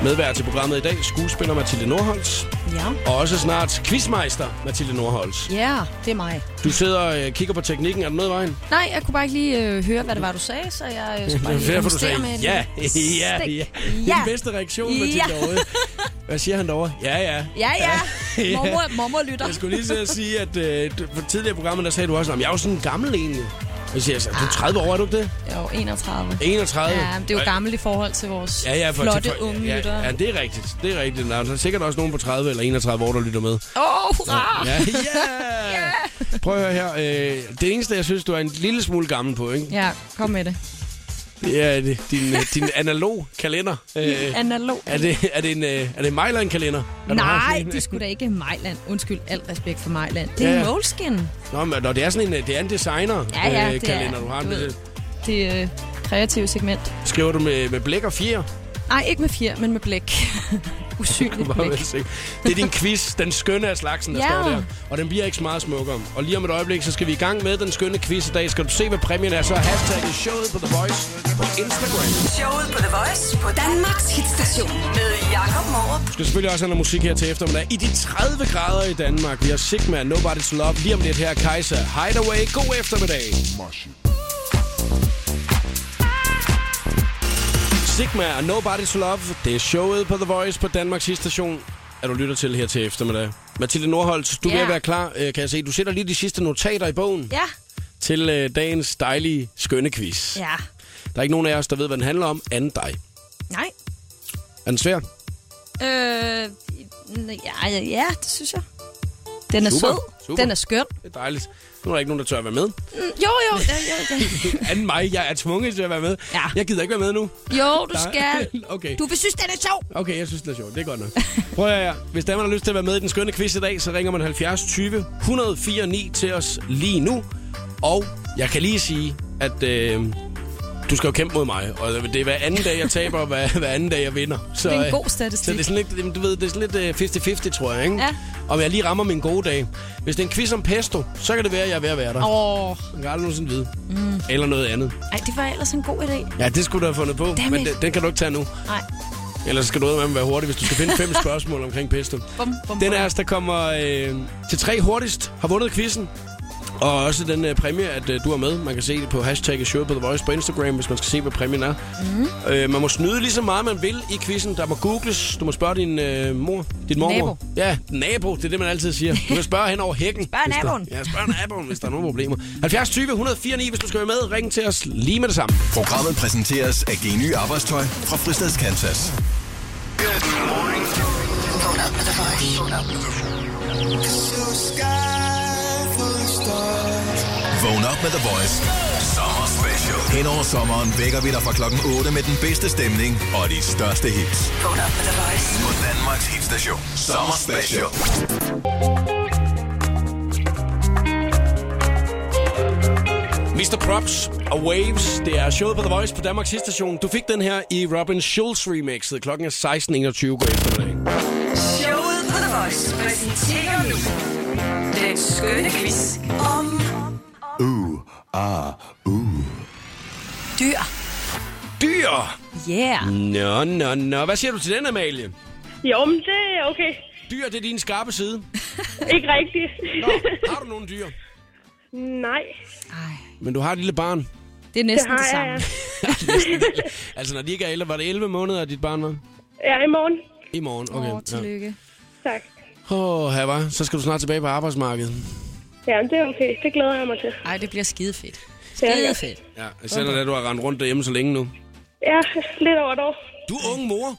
Medvært til programmet i dag, skuespiller Mathilde Nordholz. Ja. Og også snart quizmeister Mathilde Nordholz. Ja, det er mig. Du sidder og øh, kigger på teknikken. Er der noget i vejen? Nej, jeg kunne bare ikke lige øh, høre, hvad det var, du sagde, så jeg øh, skulle bare Det var lige derfor, du investere sagde med et ja, lille ja, stik. ja. Det er den bedste reaktion, Mathilde Ja. overhovedet. Hvad siger han derovre? Ja, ja. Ja, ja. Ja. Mormor, mormor lytter. Jeg skulle lige til at sige, at øh, du- for tidligere i programmet, der sagde du også, at jeg er jo sådan en gammel egentlig. Jeg siger, så, du er 30 år, er du ikke det? Jo, 31. 31. Ja, men det er jo Og- gammelt i forhold til vores Ja, ja, for, flotte til, for, unge ja, lyttere. Ja, det er rigtigt. Det er rigtigt. Der er så sikkert også nogen på 30 eller 31 år, der lytter med. Åh, oh, hurra! Ja, Prøv at høre her. Øh, det eneste, jeg synes, du er en lille smule gammel på, ikke? ja, kom med det. Det er øh, din, øh, din analog kalender. Øh, Analog. er det, er det en, øh, er det en Mejland-kalender? Er du har sådan Nej, en? det er sgu da ikke Mejland. Undskyld, alt respekt for Mejland. Det Ja, er ja. ja. Moleskin. Nå, men når det er sådan en, øh, det er en designer Ja, ja, øh, det kalender, er- du har. du en ved. lille- Det øh, kreative segment. Skriver du med, med blæk og fjer? Nej, ikke med fjer, men med blæk. Usynligt Bare blæk. velsigne. Det er din quiz, den skønne af slagsen, der Ja. står der. Og den bliver ikke så meget smukkere. Og lige om et øjeblik, så skal vi i gang med den skønne quiz i dag. Skal du se, hvad præmien er, så hashtag showet på The Voice på Instagram. Showet på The Voice på Danmarks hitstation med Jakob Morup. Du skal selvfølgelig også have noget musik her til eftermiddag. I de 30 grader i Danmark. Vi har Sigma, Nobody to Love. Lige om lidt her, Kaiser. Hideaway. God eftermiddag. Sigma og Nobody to Love. Det er showet på The Voice på Danmarks station. Er du lytter til her til eftermiddag. Mathilde Nordholz, du yeah. Ja. vil være klar, øh, kan jeg se. Du sætter lige de sidste notater i bogen Ja, til øh, dagens dejlige, skønne quiz. ja. Der er ikke nogen af os, der ved, hvad den handler om, anden dig. Nej. Er den svær? Øh, ja, ja, ja, det synes jeg. Den er Super, sød. super. Den er skøn. Det er dejligt. Nu er der ikke nogen, der tør at være med. Mm, Jo, jo, ja, ja, ja. Anden mig, jeg er tvunget til at være med. Ja. Jeg gider ikke være med nu. jo, du Nej. skal. Okay. Du vil synes, den er sjov. Okay, jeg synes, det er sjovt. Det er godt nok. Prøv at høre. Hvis der er, man har lyst til at være med i den skønne quiz i dag, så ringer man 70 20 104 9 til os lige nu. Og jeg kan lige sige, at øh, du skal jo kæmpe mod mig. Og det er hver anden dag, jeg taber, og hver, hver anden dag, jeg vinder. Så, Det er en øh, god statistik. Så det er sådan lidt, jamen, du ved, det er sådan lidt øh, 50-50, tror jeg, ikke? Ja. Om jeg lige rammer min gode dag. Hvis det er en quiz om pesto, så kan det være, at jeg er ved at være der. Åh. Jeg kan aldrig nogensinde vide. Mm. Eller noget andet. Ej, det var ellers en god idé. Ja, det skulle du have fundet på, Dammit. men den, den kan du ikke tage nu. Nej. Ellers skal du ud med at være hurtig, hvis du skal finde fem spørgsmål omkring pesto. Bum, bum, Den af os, der kommer øh, til tre hurtigst, har vundet quizzen. Og også den øh, præmie, at øh, du er med. Man kan se det på hashtagget show på The Voice på Instagram, hvis man skal se, hvad præmien er. Mm. Øh, man må snyde lige så meget, man vil i quizzen. Der må googles. Du må spørge din øh, mor. Din mormor. Nabo. Ja, nabo. Det er det, man altid siger. Du kan spørge hen over hækken. Spørg hvis der- naboen. Ja, spørg naboen, hvis der er nogen problemer. 70 20 104 9, hvis du skal være med. Ring til os lige med det samme. Programmet præsenteres af Geny Arbejdstøj fra Fristads Kansas. Vågn op med The Voice. Sommer Special. Hen over sommeren vækker vi dig fra klokken 8 med den bedste stemning og de største hits. Vågn op med The Voice. På Danmarks hitstation. Sommer Special. Mr. Props og Waves, det er showet på The Voice på Danmarks station. Du fik den her i Robin Schulz remixet. Klokken er 16.21 går eftermiddag. Showet på The Voice præsenterer nu den skønne quiz om Uh, ah, uh. dyr. Dyr! Yeah. Nå, nå, nå. Hvad siger du til den, Amalie? Jo, men det er okay. Dyr, det er din skarpe side. Ikke rigtigt. Har du nogle dyr? Nej. Men du har et lille barn. Det er næsten Det det, har det samme. jeg, Altså, når de ikke er 11, var det 11 måneder, dit barn var? Ja, i morgen. I morgen, okay. ja. Tak. Åh, her var. Så skal du snart tilbage på arbejdsmarkedet. Ja, men det er okay. Det glæder jeg mig til. Nej, det bliver skide fedt. Skide fedt. Ja, jeg sender det, at du har rendt rundt derhjemme så længe nu. Ja, lidt over et år. Du er ung mor.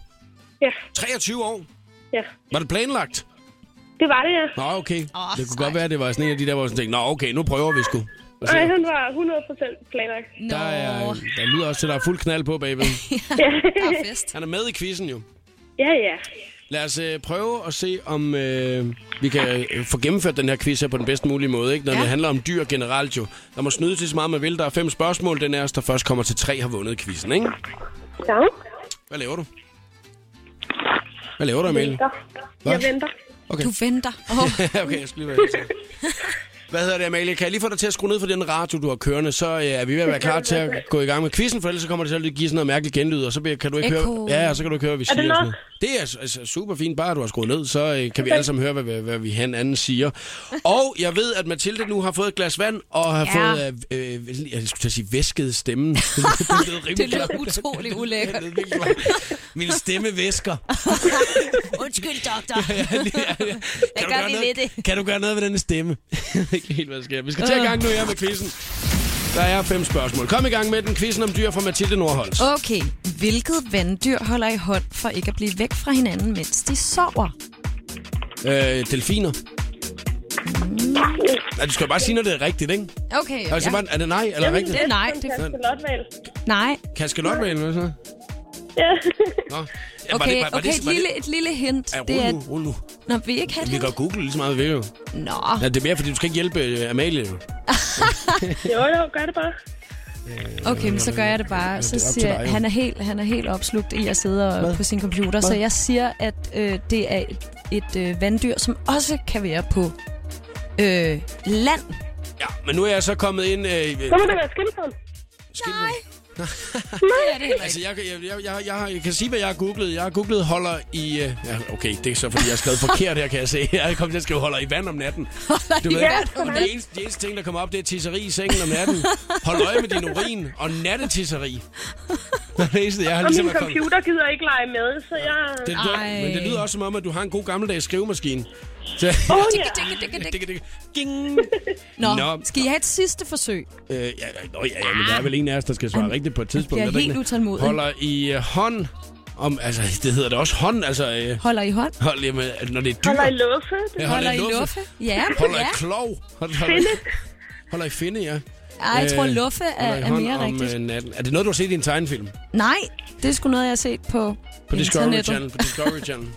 Ja. 23 år. Ja, Var det planlagt? det var det, ja. Nå, okay. Oh, det kunne godt være, at det var sådan en af de der, hvor jeg sådan tænkte, nå, okay, nu prøver vi sgu. Hvad siger Nej, du? han var 100% planlagt. Der, er, der lyder også til, at der er fuld knald på, baby. ja. Han er med i quizzen jo. ja, ja. Lad os øh, prøve at se, om øh, vi kan øh, få gennemført den her quiz her på den bedst mulige måde, ikke? når ja. det handler om dyr generelt jo. Der må snyde til så meget, man vil. Der er fem spørgsmål. Den er os, der først kommer til tre, har vundet quizzen, ikke? Ja. Hvad laver du? Hvad laver du, Emil? Jeg Hvad? venter. Okay. Du venter. Oh. okay, jeg skulle lige være helt sikker. Hvad hedder det, Amalie? Kan jeg lige få dig til at skrue ned for den radio, du har kørende, så øh, er vi ved at være klar til at gå i gang med quizzen, for ellers så kommer det til at give sådan noget mærkeligt genlyd, og så bliver- kan du ikke Echo. høre, ja, og så kan du ikke høre, hvad vi Er siger. det og sådan nok? noget. Det er s- altså, super fint, bare at du har skruet ned, så øh, kan vi alle sammen høre, hvad, hvad, hvad vi hinanden siger. Og jeg ved, at Mathilde nu har fået et glas vand, og har Ja. fået, øh, øh, jeg skulle til at sige, væsket stemmen. det lyder Det lyder utrolig ulækkert. Min stemme væsker. Undskyld, doktor. Kan Hvad du gør gøre vi noget- ved det? Kan du gøre noget ved denne stemme? Jeg ved ikke helt, hvad der sker. Vi skal til i gang nu her med quizzen. Der er fem spørgsmål. Kom i gang med den. Quizzen om dyr fra Mathilde Nordholz. Okay, hvilket vanddyr holder I hånd for ikke at blive væk fra hinanden, mens de sover? Øh, delfiner. Ja, du skal jo bare sige, når det er rigtigt, ikke? Okay, Altså, bare, er det nej eller Jamen, rigtigt? det er nej. Det er- Nej. Kaskelot, eller hvad så? Ja. Nå. Ja, var Okay, var- var okay, et var lille, et lille hint. Ja, det er, rul nu, rul nu. når vi ikke har Vi det. kan google lige så meget, vi vil jo. Nå. Ja, det er mere, fordi du skal ikke hjælpe øh, Amalie. jo. Jo, jo, gør det bare. Okay, men så gør jeg det bare. det Så er op til siger jeg, dig, jo. han er helt, han er helt opslugt i at sidde og, på sin computer, så Hvad? jeg siger, at øh, det er et, et øh, vanddyr, som også kan være på øh, land. Ja, men nu er jeg så kommet ind... Øh, øh, Så må det være skildpadden. Nej. Nej, det Altså, jeg, jeg, jeg, jeg, jeg, jeg kan sige, hvad jeg har googlet. Jeg har googlet holder i... øh, Ja, okay, det er så, fordi jeg har skrevet forkert her, kan jeg se. Jeg kom til at skrive holder i vand om natten. Du ved, i ja, vand om det, natten. eneste, det eneste ting, der kommer op, det er tisseri i sengen om natten. Hold øje med din urin og nattetisseri. Det er det eneste, jeg har Og ligesom min er kommet. computer gider ikke lege med, så jeg... Det, lyder, men det lyder også som om, at du har en god gammeldags skrivemaskine. Så, Åh, oh, ja. Dikke, dikke, dikke, dikke. Dikke, dikke. Nå, Nå. skal I have et sidste forsøg? Øh, ja, ja, nå, ja, ja, men der er vel en af os, der skal svare rigtigt på et tidspunkt. bliver er det helt ikke det? utålmodig. Holder i øh, hånd om... Altså, det hedder det også hånd, altså... Øh, Holder I hånd? Hold lige med, at når det er dyr. Holder i luffe. Ja, Holder I luffe? Ja, Holder ja. i klov. Holder, Finde. Holder i finde, ja. Ej, jeg tror, luffe er- Øh, holder i er hånd mere om, rigtigt. øh, natten. Er det noget, du har set i en tegnefilm? På Nej, det er sgu noget, jeg har set på, Discovery internettet. Channel. På Discovery Channel.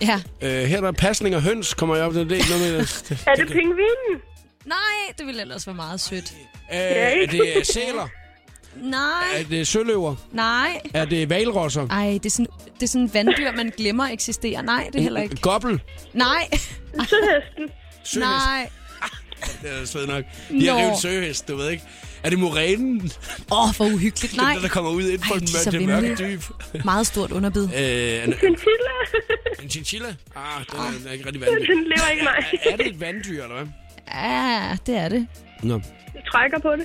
Ja. øh, her er der pasning og høns, kommer jeg op til. Det er ikke noget med... Det, Er det pingvinen? Nej, det ville ellers være meget sødt. Øh, er det øh, sæler? Nej, Er det søløver? nej. Er det valrosser? Ej, det er sådan, det er sådan et vanddyr, man glemmer eksisterer. Nej, det er heller ikke. Gobbel? Nej. Søhesten. Søhest? Nej. Det er svedt nok. De har Nå. revet en søhest, du ved ikke. Er det morænen? Åh, oh, hvor uhyggeligt. Den Nej. der, der kommer ud ind på Ej, den de er så mørke, mørke vemmelige. dyb. Meget stort underbid. Øh, en, Chinchilla. en chinchilla? Ah, den er, den er ikke rigtig vanddyr. Den lever ikke, nej. Er, er det et vanddyr, eller hvad? Ja, det er det. Nå. Jeg trækker på det.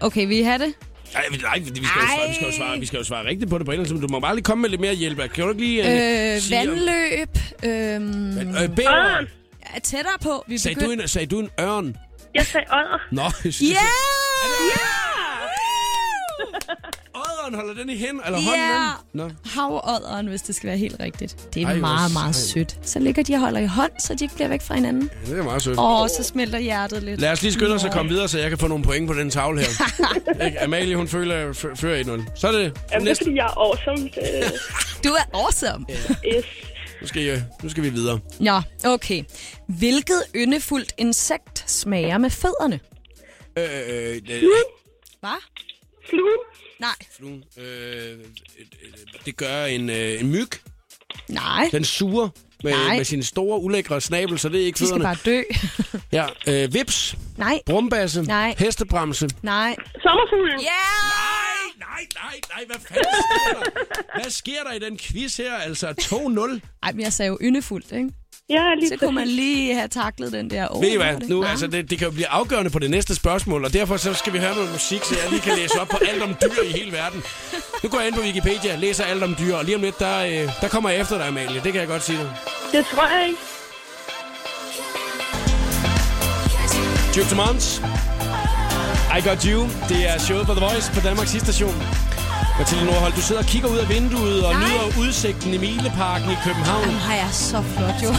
Okay, vi har det. Ej, vi- nej, vi skal, jo svare, vi, skal jo svare, vi skal jo svare rigtigt på det på en eller anden måde. Du må bare lige komme med lidt mere hjælp. Kan du ikke lige øh, Øh, sige... vandløb. Øhm, Vand- øh, bæver. Ja, tættere på. Vi Sagde du, en, sagde du en ørn? Jeg sagde ådder. Nå, jeg synes, Ja! Ådderen holder den i hen, eller Ja! hånden i den? Nå. Havådderen, hvis det skal være helt rigtigt. Det er Ej, hvor meget, meget sejt. sødt. Så ligger de og holder i hånd, så de ikke bliver væk fra hinanden. Ja, det er meget sødt. Åh, så smelter hjertet lidt. Lad os lige skynde os at Nå. komme videre, så jeg kan få nogle point på den tavle her. Ikke? Amalie, hun føler, at jeg f- fører 1-0. Så er det Jamen, det er, næste. fordi jeg er awesome. Det, Du er awesome. yes. Nu skal, I, nu skal vi videre. Nå, okay. Hvilket yndefuldt insekt smager med fødderne? Øh, øh, øh, Hvad? Fluen. Nej. fluen. øh, øh, øh, det gør en, øh, en myg. Nej. Den suger med, Nej. med sin store, ulækre snabel, så det er ikke De skal fødderne. bare dø. Ja, øh, vips, Nej. brumbasse, Nej. hestebremse. Nej. Sommerfuglen. Ja! Nej, nej, nej, nej, hvad fanden sker der? Hvad sker der i den quiz her? Altså 2-0. Ej, men jeg sagde jo yndefuldt, ikke? Ja, Så kunne man lige have taklet den der. Oh, Ved I hvor er hvad, det- nu, Nej. altså, det, det kan jo blive afgørende på det næste spørgsmål, og derfor så skal vi høre noget musik, så jeg lige kan læse op på alt om dyr i hele verden. Nu går jeg ind på Wikipedia, læser alt om dyr, og lige om lidt, der, øh, der kommer jeg efter dig, Amalie. Det kan jeg godt sige dig. Det tror jeg ikke. Tube to Mons. I Got You. Det er showet på The Voice på Danmarks station. Mathilde Nordholt, du sidder og kigger ud af vinduet og Nej. nyder udsigten i Mileparken i København. Jamen, har jeg så flot, jo.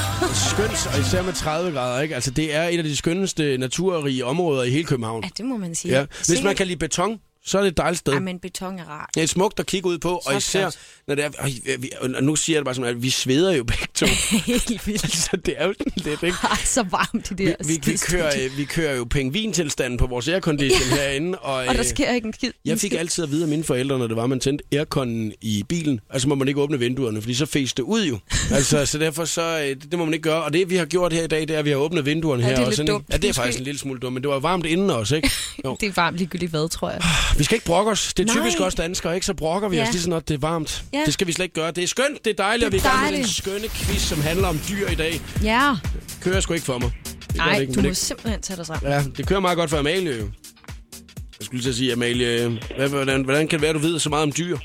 Skønt, og især med 30 grader, ikke? Altså, det er et af de skønneste naturrige områder i hele København. Ja, det må man sige. Ja. Hvis man Sikkert- kan lide beton, så er det et dejligt sted. Ej, men beton er rart. Det er smukt at kigge ud på, Så og især, flot. når det er, og, vi, og nu siger jeg det bare som, at vi sveder jo begge to. Helt vildt. så det er jo sådan lidt, ikke? Ej, så varmt i det her Vi, vi, skide kører, studie. øh, vi kører jo pengvintilstanden på vores aircondition Ja. herinde. Og, Og der øh, sker ikke en skid. Jeg fik altid at vide af mine forældre, når det var, man tændte airconen i bilen. Altså må man ikke åbne vinduerne, fordi så fæs det ud jo. Altså, så derfor så, øh, det, det må man ikke gøre. Og det, vi har gjort her i dag, det er, at vi har åbnet vinduerne Ja, her. det er og lidt sådan, ikke? dumt, Ja, det er måske. faktisk en lille smule dumt, men det var varmt inden også, ikke? Jo. Det er varmt ligegyldigt hvad, tror jeg. Vi skal ikke brokke os. Det er Nej. typisk os danskere, ikke? Så brokker vi Ja. os lige så snart det er varmt. Ja. Det skal vi slet ikke gøre. Det er skønt, det er dejligt, Det er og vi er i gang med den dejligt. skønne quiz, som handler om dyr i dag. Ja. Kører sgu ikke for mig. Det gør det Nej, ikke, du men må det- simpelthen tage dig sammen. Ja, det kører meget godt for Amalie jo. Jeg skulle lige til at sige, Amalie, øh, hvad, hvordan, hvordan kan det være, du ved så meget om dyr?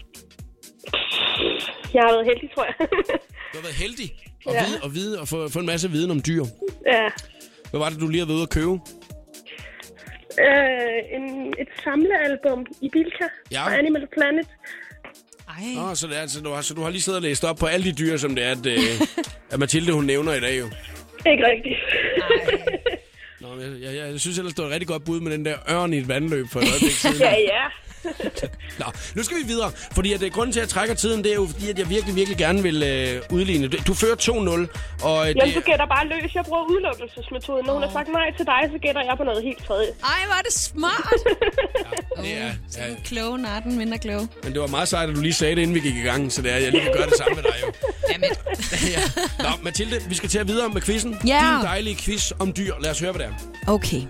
Jeg har været heldig, tror jeg. Du har været heldig at Ja. vide, og, vide, og få, få en masse viden om dyr. ja. Hvad var det, du lige har været ude at købe? Mm. Øh, en, et samlealbum i Bilka Ja. fra Animal Planet. Nå, så, det er, altså, du har, så du har lige siddet og læst op på alle de dyr, som det er, at, øh, at Mathilde hun nævner i dag jo. Ikke rigtigt. Nå, men jeg, jeg, jeg, jeg synes ellers, det var et rigtig godt bud med den der ørn i et vandløb for et øjeblik siden. ja, ja. Nå, nu skal vi videre, fordi at, øh, grunden til, at jeg trækker tiden, det er jo fordi, at jeg virkelig, virkelig gerne vil øh, udligne. Du, du fører 2-0, og øh, Jamen, du det, gætter bare løs. Jeg bruger udelukkelsesmetoden. Når hun har sagt nej til dig, så gætter jeg på noget helt tredje. Ej, hvor er det smart. det er, ja, kloge natten, mindre kloge. men det var meget sejt, at du lige sagde det, inden vi gik i gang, så det er, jeg lige vil gøre det samme med dig jo. Jamen. ja. Nå, Mathilde, vi skal til at videre med quizzen. Ja. Din dejlige quiz om dyr. Lad os høre, hvad det er. Okay.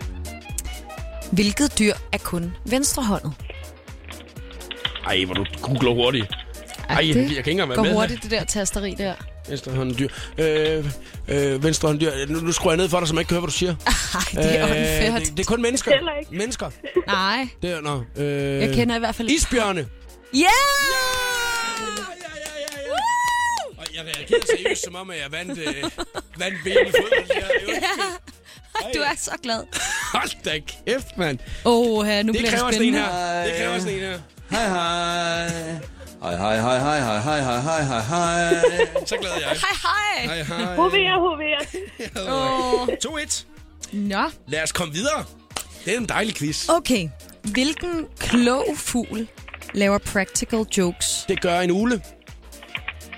Hvilket dyr er kun venstrehåndet? Ej, hvor du googler hurtigt. Ej, jeg, jeg kan ikke engang være Går med. hurtigt, det der tasteri der. Venstrehånddyr. Øh, øh, venstrehånddyr. Nu, nu skruer jeg ned for dig, så man ikke kan høre, hvad du siger. Ej, Ah, det er unfair. Øh, det, det er kun mennesker. Heller Mennesker. Nej, Det er, nå, øh, jeg kender i hvert fald... Isbjørne. Ja! Og jeg reagerede seriøst, som om at jeg vandt, øh, vandt ben i fodbold. Jeg er jo ikke- Du er så glad. Hold da kæft, mand. Åh, oh, nu Det bliver kræver sådan en det spændende. her. Det kræver sådan en her. Hej hej. Hej hej hej hej hej hej hej hej hej hej. Så glad er jeg. Hej, hej. Hej, Øh. hej. Hovedet, hovedet. Åh. 2-1. Nå. Lad os komme videre. Det er en dejlig quiz. Okay. Hvilken klog fugl laver practical jokes Det gør en ule.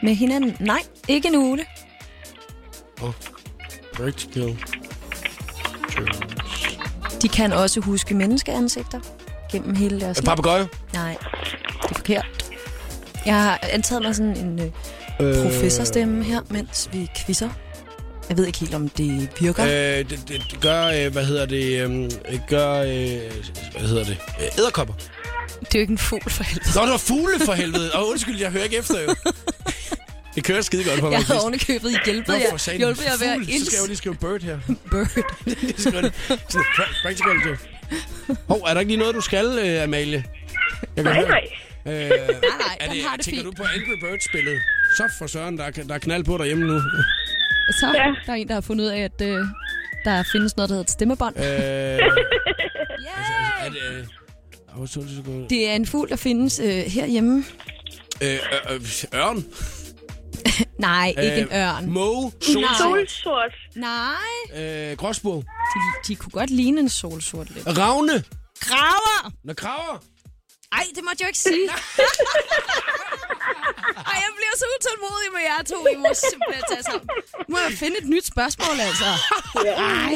med hinanden? Nej, ikke en ule. Og practical De kan også huske menneskeansigter gennem hele deres En papegøje. liv. Nej, det er forkert. Jeg har antaget mig sådan en øh, professorstemme her, mens vi quizzer. Jeg ved ikke helt, om det virker. Øh. Øh, det, det, det gør, øh, hvad hedder det, øhm, øh, gør, øh, hvad hedder det, øh, æderkopper. Det er jo ikke en fugl for helvede. Nå, det var fugle for helvede. Og undskyld, jeg hører ikke efter jo. Det kører skide godt på mig. Jeg havde ovenikøbet hjulpet Hvorfor jer, sagde hjulpet jer ved at fugl? Så skal jeg jo lige skrive bird her. Bird. Jeg skriver det. Sådan, pra- practical joke. Hov, er der ikke lige noget, du skal, øh, Amalie? Jeg Nej, nej. Øh, nej, nej, er den det, har det tænker fint. du på Angry Birds-spillet? Så for søren, der er, der er knald på derhjemme nu. Øh, Så der er en, der har fundet ud af, at øh, der findes noget, der hedder et stemmebånd. Øh, altså, altså, er det, øh, åh, så er det så godt. Det er en fugl, der findes øh, herhjemme. Øh, øh, øh, ørn? Nej, ikke Øh, en ørn. Måge? Nej. Solsort? Solsort. Nej. Øh, gråsbog? De, de kunne godt ligne en solsort lidt. Ravne? Graver! Nå, kraver? Ej, det måtte jeg jo ikke sige. Ej, jeg bliver så utålmodig med jer to. I må simpelthen tage sammen. Nu må jeg finde et nyt spørgsmål, altså. Ej.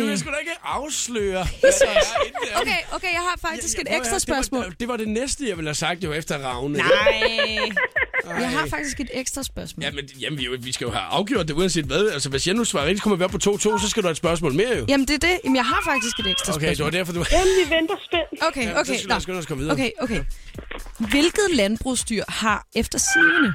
Du vil sgu da ikke afsløre, hvad der er inde der. Okay, okay, jeg har faktisk Ja, et prøv at ekstra høre, spørgsmål. Det var, det var det næste, jeg ville have sagt jo efter Ravne. Nej. Jeg har faktisk et ekstra spørgsmål. Jamen, jamen vi, vi skal jo have afgjort det uanset hvad. Altså, hvis jeg nu svarer rigtigt, kommer vi op på 2-2, så skal du have et spørgsmål mere jo. Jamen, det er det. Jamen, jeg har faktisk et ekstra Okay, det var spørgsmål. derfor, du... Jamen, vi venter spændt. Okay, Ja, så okay. skal vi nå. skynde os at komme videre. Okay, okay. Hvilket landbrugsdyr har efter sigende...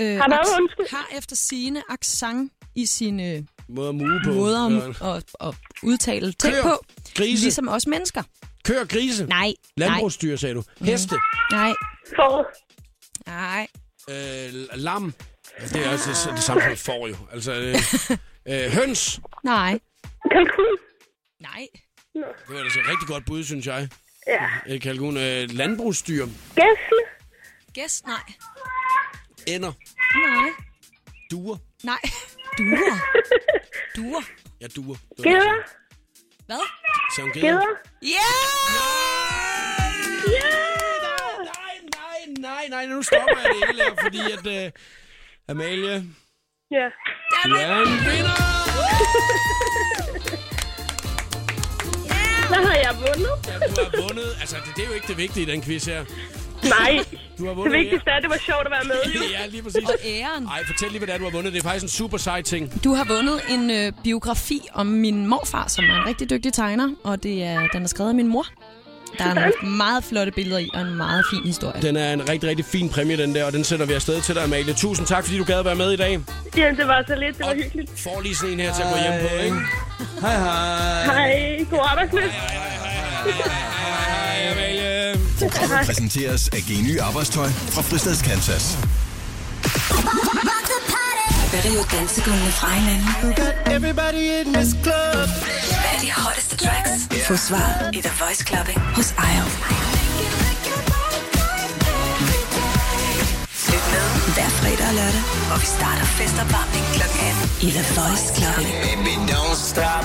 Øh, Har der ac- været undskyld? har efter sigende accent i sine Måde at muge på. måder Ja. at, at, at udtale ting Køer. på. Grise. Ligesom også mennesker. Kør grise. Nej, Mm. Landbrugsdyr, sagde du. Heste. nej, For nej. Øh, lam. Ja, Det er altså det, det samme som får jo. Altså, øh, øh, høns. Nej. kalkun. Nej. Nå. Det var altså et rigtig godt bud, synes jeg. Ja. Øh, Kalkun, øh, landbrugsdyr. Gæsle. Gæst? Nej. Ender. Nej. Duer. Nej. Duer. Duer. Ja, duer. Geder. Hvad? Sagde hun geder? Geder. Ja! Ja! Nej, nej, nej, nej, nu stopper jeg det hele her, fordi at... Øh, Amalie, Ja. du er en vinder! Så har jeg vundet. Du har vundet. Altså, det, det er jo ikke det vigtige i den quiz her. Nej. Du har Det vundet vigtigste er, at det var sjovt at være med. ære. Ja, lige præcis. Og æren. Ej, fortæl lige, hvad det er, du har vundet. Det er faktisk en super sej ting. Du har vundet en øh, biografi om min morfar, som er en rigtig dygtig tegner, og det er, den er skrevet af min mor. Der er nogle meget flotte billeder i, og en meget fin historie. Den er en rigtig, rigtig fin præmie, den der, og den sender vi afsted til dig, Amalie. Tusind tak, fordi du gad at være med i dag. Jamen, det var så lidt. Det var hyggeligt. Får lige sådan en her til at gå hjem på, ikke? Hej, hej. Hej. God arbejdsløs. Hej, Amalie. Programmet præsenteres af Geny Arbejdstøj fra Fristads Kansas. Rio Dansegulvene fra hinanden. Everybody in this club. Hvad er de hotteste tracks? Få svar i The Voice Clubbing hos IO. Lyt med hver fredag og lørdag, hvor vi starter festopvarmning kl. 18 i The Voice Clubbing. Baby, don't stop.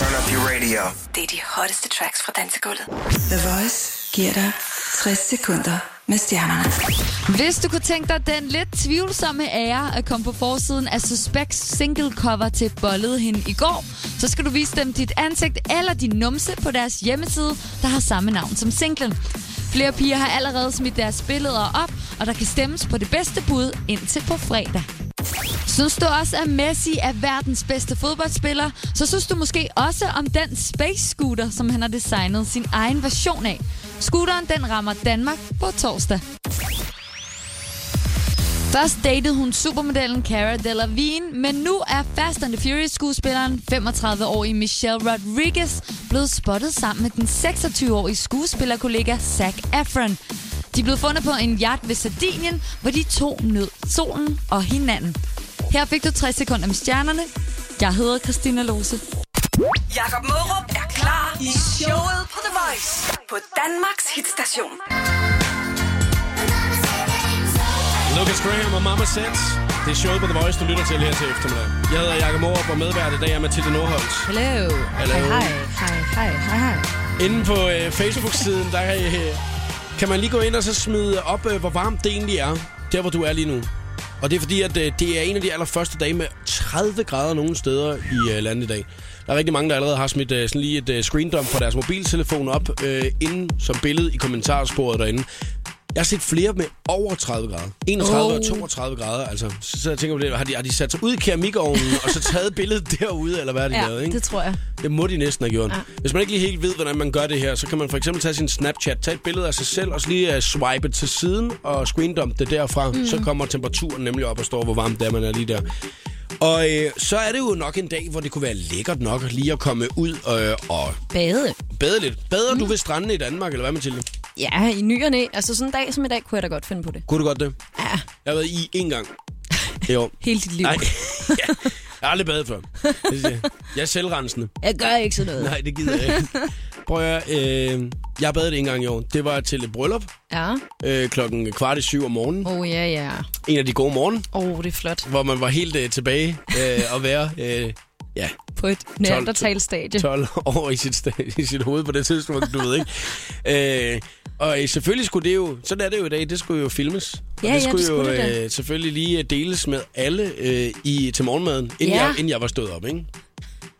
Turn up your radio. Det er de hotteste tracks fra dansegulvet. The Voice giver dig 60 sekunder med stjernerne. Hvis du kunne tænke dig den lidt tvivlsomme ære at komme på forsiden af Suspects single cover til Bollede hende i går, så skal du vise dem dit ansigt eller din numse på deres hjemmeside, der har samme navn som singlen. Flere piger har allerede smidt deres billeder op, og der kan stemmes på det bedste bud indtil på fredag. Synes du også, at Messi er verdens bedste fodboldspiller, så synes du måske også om den space scooter, som han har designet sin egen version af. Scooteren den rammer Danmark på torsdag. Først datede hun supermodellen Cara Delevingne, men nu er Fast and the Furious-skuespilleren 35-årige Michelle Rodriguez blevet spottet sammen med den 26-årige skuespillerkollega Zac Efron. De blev fundet på en yacht ved Sardinien, hvor de to nød solen og hinanden. Her fik du 60 sekunder med stjernerne. Jeg hedder Christina Lose. Jakob Mørup er klar i showet på The Voice på Danmarks hitstation. Lucas Graham og Mama Sets. Det er showet på The Voice, du lytter til her til eftermiddag. Jeg hedder Jakob Morup og medvært i dag er Mathilde Nordholt. Hello. Hello. Hej, hej, hej, hej, hej. Inde på øh, Facebook-siden, der kan, øh, kan man lige gå ind og så smide op, øh, hvor varmt det egentlig er, der hvor du er lige nu. Og det er fordi, at øh, det er en af de allerførste dage med 30 grader nogle steder i øh, landet i dag. Der er rigtig mange, der allerede har smidt øh, sådan lige et øh, screendump fra deres mobiltelefon op, øh, inden som billede i kommentarsporet derinde. Jeg har set flere med over 30 grader. 31 oh. og Oh. 32 grader, altså. Så, så jeg tænker på det, har de, har de sat sig ud i keramikovnen, og så taget billedet derude, eller hvad har de lavet, ikke? det tror jeg. Det må de næsten have gjort. Ja. Hvis man ikke lige helt ved, hvordan man gør det her, så kan man for eksempel tage sin Snapchat, tage et billede af sig selv, og så lige uh, swipe til siden og screendump det derfra. Mm. Så kommer temperaturen nemlig op og står, hvor varmt det er, man er lige der. Og øh, så er det jo nok en dag, hvor det kunne være lækkert nok lige at komme ud øh, og Bade. bade lidt. Bader mm. du ved stranden i Danmark, eller hvad, Mathilde? Ja, i ny og næ. Altså sådan en dag som i dag, kunne jeg da godt finde på det. Kunne du godt det? Ja. Jeg har været i én gang. Jo. Hele dit liv. Nej, ja. jeg har aldrig badet før. Jeg er selvrensende. Jeg gør ikke sådan noget. Nej, det gider jeg ikke. Prøv at høre, øh, jeg badede en gang i år. Det var til et bryllup Ja. øh, klokken kvart i syv om morgenen. Oh, ja, ja. En af de gode morgen, Åh, oh, det er flot. hvor man var helt øh, tilbage øh, at være øh, ja, På et neandertalstadie. 12 år i sit, sta- i sit hoved på det tidspunkt, du ved ikke. Øh, og øh, selvfølgelig skulle det jo, sådan er det jo i dag, det skulle jo filmes. Og Ja, det ja, skulle det skulle jo det da. øh, selvfølgelig lige øh, deles med alle øh, i, til morgenmaden, inden, Ja. jeg, inden jeg var stået op, ikke?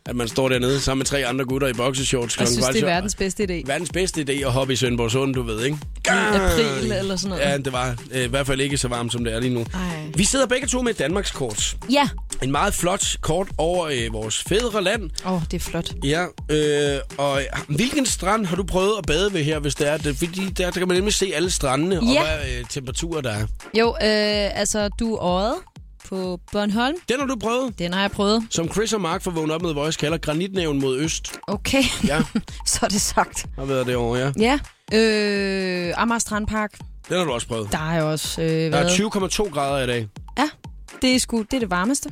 At man står dernede sammen med tre andre gutter i boxershorts. Jeg klokken synes, kvart det i syv. er verdens bedste idé. Verdens bedste idé at hoppe i Sønderborg Sund, du ved, ikke? I april eller sådan noget. Ja, det var øh, i hvert fald ikke så varmt, som det er lige nu. Ej. Vi sidder begge to med et Danmarkskort. Ja. En meget flot kort over øh, vores fædre land. Åh, oh, det er flot. Ja, øh, og hvilken strand har du prøvet at bade ved her, hvis det er det? Fordi der, der kan man nemlig se alle strandene og Ja. hvad øh, temperaturer der er. Jo, øh, altså, du er øjet på Bornholm. Den har du prøvet? Den har jeg prøvet. Som Chris og Mark fra Vågn Op med Voice kalder granitnæven mod øst. Okay, Ja, så er det sagt. har været det over, ja. Ja, øh, Amager Strandpark. Den har du også prøvet. Der har jeg også øh, Der er været. 20,2 grader i dag. Ja, det er sgu det, er det varmeste.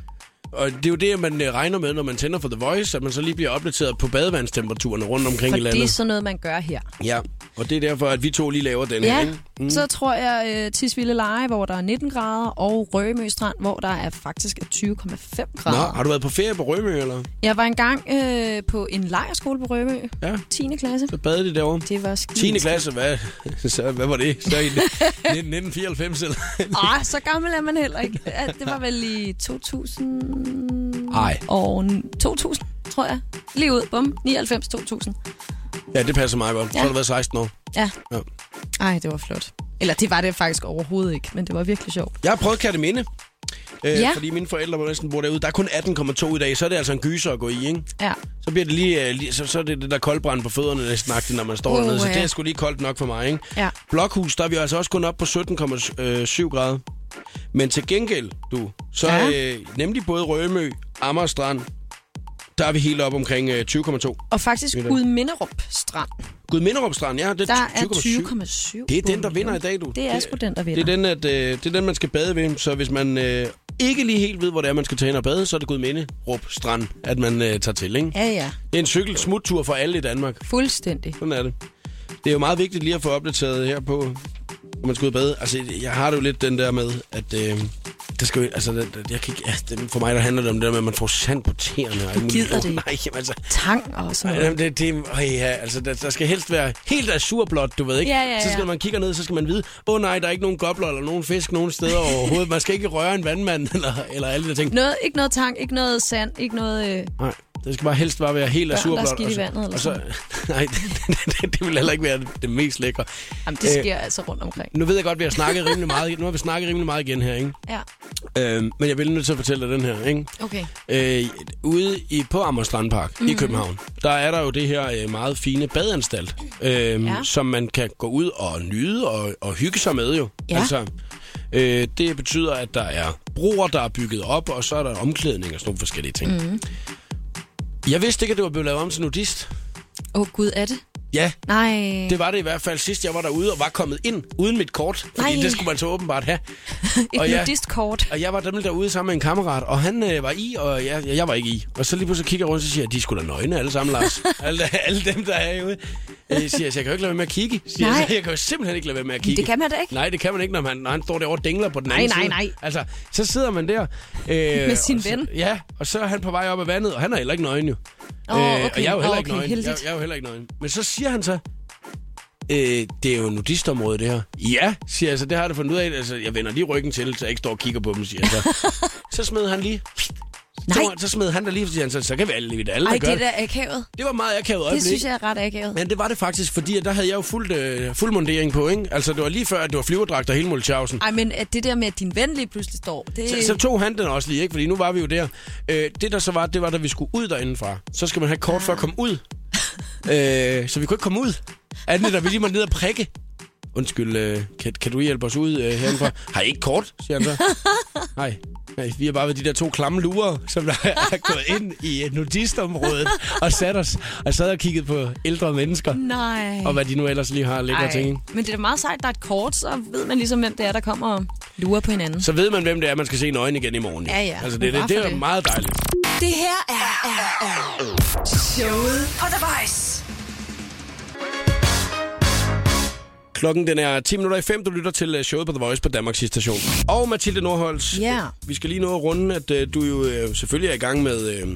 Og det er jo det, man øh, regner med, når man tænder for The Voice, at man så lige bliver opdateret på badevandstemperaturerne rundt omkring i For det er landet. sådan noget, man gør her. Ja, og det er derfor, at vi to lige laver den her. Ja, ikke? mm. så tror jeg øh, Tisvilde Leje, hvor der er 19 grader, og Rømø Strand, hvor der er faktisk er 20,5 Nå, grader. har du været på ferie på Rømø, eller? Jeg var engang øh, på en lejrskole på Rømø, ja. 10. klasse. Så badede de derovre? Det var skidt. 10. klasse, hvad, så, hvad var det? Så i 1994, eller? Åh, så gammel er man heller ikke. Ja, Det var vel i 2000... Nej. Og 2000, tror jeg. Lige ud, bum. 99-2000. Ja, det passer meget godt. Så har Ja. du været 16 år. Ja. Ja. Ej, det var flot. Eller det var det faktisk overhovedet ikke, men det var virkelig sjovt. Jeg har prøvet Kataminde. Øh, Ja. Fordi mine forældre var næsten bor derude. Der er kun 18,2 i dag, så er det altså en gyser at gå i, ikke? Ja. Så bliver det lige, øh, lige så, så er det det der koldbrand på fødderne næsten agtigt, når man står Uha. dernede. Så det er sgu lige koldt nok for mig, ikke? Ja. Blokhus, der er vi altså også kun oppe på 17,7 grader. Men til gengæld, du, så ja. Ja. øh, nemlig både Rømø, Amager Strand, der er vi helt op omkring øh, 20,2. Og faktisk Ved du? Gud Minderup Strand. Gud Minderup Strand, ja, det Der er er 20,7. 20,7. Det er den, der vinder i dag, du. Det er sgu den, der Det er vinder. den, at, øh, det er den man skal bade ved. Så hvis man øh, ikke lige helt ved, hvor det er, man skal tage ind og bade, så er det Gudminde Rup Strand, at man øh, tager til, ikke? Ja, ja. Det er en cykelsmuttur for alle i Danmark. Fuldstændig. Sådan er det. Det er jo meget vigtigt lige at få opdateret her på, når man skal ud og bade. Altså, jeg har det jo lidt den der med, at... Øh, der skal jo, altså, det- det- jeg kan ikke, ja, det- for mig der handler det om det der med, at man får sand på tæerne. og alt muligt. gider det Åh, Nej, jamen, altså, Tang og ej, sådan noget. jamen, det, det, øj, ja, altså, der, der, skal helst være helt azurblåt, du ved ikke? Ja, ja, Så skal ja. man kigger ned, så skal man vide, åh oh, nej, der er ikke nogen gobler eller nogen fisk nogen steder overhovedet. Man skal ikke røre en vandmand eller, eller alle de der ting. Noget, ikke noget tang, ikke noget sand, ikke noget... Øh, Nej, det skal bare helst bare være helt Børn, der er azurblåt. skidt i og så- vandet eller og så, Nej, det, det, det, vil heller ikke være det mest lækre. jamen, det sker øh, altså rundt omkring. Nu ved jeg godt, at vi har snakket rimelig meget, nu har vi snakket rimelig meget igen her, ikke? Ja, Øh, men jeg vil nødt til at fortælle dig den her, ikke? okay. Øh, ude i, på Amager Strandpark mm-hmm. i Mhm. København, der er der jo det her øh, meget fine badeanstalt, øh, ja. Ja. som man kan gå ud og nyde og, og hygge sig med jo. Ja. Altså, øh, det betyder, at der er broer, der er bygget op, og så er der omklædning og sådan nogle forskellige ting. Mm. Mm. Jeg vidste ikke, at det var blevet lavet om til nudist. Åh, oh, gud, er det? Ja, Nej. det var det i hvert fald sidst, jeg var derude og var kommet ind uden mit kort, fordi Nej. det skulle man så åbenbart have. Et og jeg- nudistkort. Og jeg var dem derude sammen med en kammerat, og han øh, var i, og jeg, jeg var ikke i. Og så lige pludselig kigger jeg rundt, og siger jeg, de skulle da nøgne alle sammen, Lars. alle, alle dem, der er herude. Jeg siger, jeg, så jeg kan jo ikke lade være med at kigge. Siger, Nej. Jeg, så jeg kan jo simpelthen ikke lade være med at Men det kigge. kan man da ikke. Nej, det kan man ikke, når han, når han står derovre og dingler på den Nej, anden nej, side. nej. Altså, så sidder man der. Øh, med sin ven. Ja, og så er han på vej op ad vandet, og han er heller ikke nøgen jo. Øh, Åh, og jeg er jo okay. heller Åh, ikke okay, nøgen. Jeg, heldigt. jeg er jo heller ikke nøgen. Men så siger han så, Øh, det er jo nudistområdet, det her. Ja, siger jeg så. Det har jeg da fundet ud af. Altså, jeg vender lige ryggen til, så jeg ikke står og kigger på dem, siger jeg så. så smed han lige. Nej. Så, så smed han der lige, fordi han så, så kan vi alle, vi alle Ej, der gør det er da akavet. det var meget akavet øjeblik. Det synes jeg er ret akavet. Men det var det faktisk, fordi at der havde jeg jo fuld, øh, fuld mundering på, ikke? Altså, det var lige før, at det var flyverdragt og hele Mulchausen. Ej, men at det der med, at din ven lige pludselig står, det... Så, så tog han den også lige, ikke? Fordi nu var vi jo der. Øh, det der så var, det var, da vi skulle ud derindefra. Så skal man have kort for at komme ud. øh, så vi kunne ikke komme ud. Andet end, at vi lige måtte ned og prikke. Undskyld, øh, kan, kan du hjælpe os ud øh, herindefra? Har I ikke kort, siger han så. Nej. Nej, vi har bare været de der to klamme lurer, som der er gået ind i øh, nudistområdet og sat os og sad og kigget på ældre mennesker. Nej. Og hvad de nu ellers lige har lækre Ej, ting. ikke? Men det er da meget sejt, der er et kort, så ved man ligesom, hvem det er, der kommer og lurer på hinanden. Så ved man, hvem det er, man skal se nøgen igen i morgen. jo. Ja, ja. Altså, det, Hurra det, det for er det. meget dejligt. Det her er, er, er showet på The Voice. Klokken den er 10 minutter i 5, du lytter til øh, showet på The Voice på Danmarks station. Og Mathilde Nordholz, Ja. vi skal lige nå at runde, at øh, du jo øh, selvfølgelig er i gang med øh,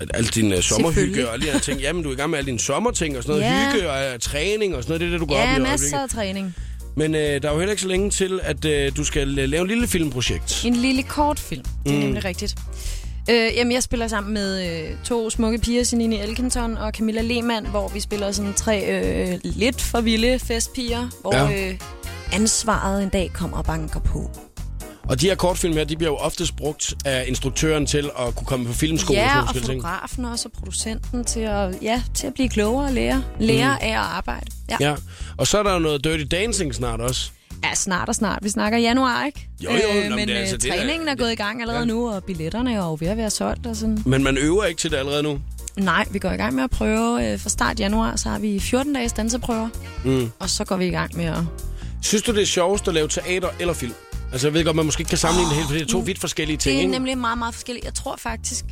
at- alt din øh, sommerhygge Selvfølgelig. og alle de her ting. Jamen, du er i gang med alle dine sommerting og sådan noget. Ja. Hygge og øh, træning og sådan noget, det er det, du går op i Ja, øjeblikket. masser af træning. Men øh, der er jo heller ikke så længe til, at øh, du skal øh, lave et lille filmprojekt. En lille kortfilm, det er Mm. mm. nemlig rigtigt. Øh, jamen, jeg spiller sammen med øh, to smukke piger, Sinine Elkenton og Camilla Lehmann, hvor vi spiller sådan tre øh, lidt for vilde festpiger, hvor Ja. ja. øh, ansvaret en dag kommer og banker på. Og de her kortfilm her, de bliver jo oftest brugt af instruktøren til at kunne komme på filmskole. og sådan ja, nogle og forskellige ting. fotografen også, og producenten til at, ja, til at blive klogere og lære, lære Mm. mm. af at arbejde. Ja. Ja. Og så er der jo noget Dirty Dancing snart også. ja, snart og snart. Vi snakker januar, ikke? Jo, jo, nå, men men det er øh, altså det, der- træningen er gået i gang allerede Ja. ja. nu, og billetterne er jo ved at være solgt og sådan. Men man øver ikke til det allerede nu. Nej, vi går i gang med at prøve. Øh, Fra start januar, så har vi 14 dages danseprøver, Mm. og så går vi i gang med at... Synes du, det er sjovest at lave teater eller film? Altså, jeg ved godt, man måske ikke kan sammenligne det helt, fordi det er to vidt forskellige ting, Det er ikke? nemlig meget, meget forskelligt. Jeg tror faktisk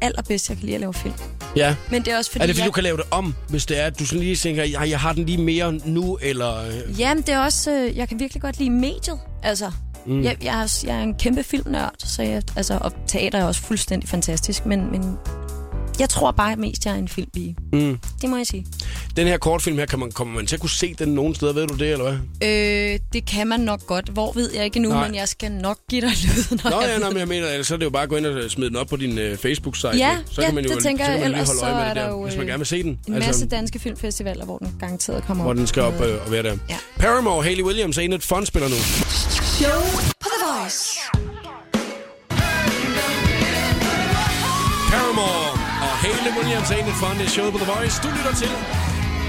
allerbedst, jeg kan lide at lave film. Ja. Men det er også fordi, er det, fordi jeg- du kan lave det om, hvis det er, at du sådan lige tænker, jeg, jeg har den lige mere nu, eller... øh, Jamen, det er også... Øh, jeg kan virkelig godt lide mediet, altså. Mm. Mm. Jeg, jeg, er, også- jeg er en kæmpe filmnørd, så jeg, altså, og teater er også fuldstændig fantastisk, men, men jeg tror bare mest, jeg er en filmpige. Mm. Det må jeg sige. Den her kortfilm her, kan man, kommer man til at kunne se den nogen steder, ved du det, eller hvad? Øh, det kan man nok godt. Hvor ved jeg ikke nu, Nej. men jeg skal nok give dig lyden. Nå, ja, nå, men jeg mener, ellers så er det jo bare at gå ind og smide den op på din øh, Facebook-site. Ja, ikke? så ja, kan man jo det tænker så kan jeg. man jo lige Ellers holde så øje med er det der, der jo, hvis man øh, gerne vil se den. En masse Mm. danske filmfestivaler, hvor den garanteret kommer altså- hvor den op. skal op øh, og være der. Ja. Paramore, Haley Williams er en et fondspiller nu. Show på The Voice. Paramore og Haley Williams er en et fond, det er showet på The Voice. Du lytter til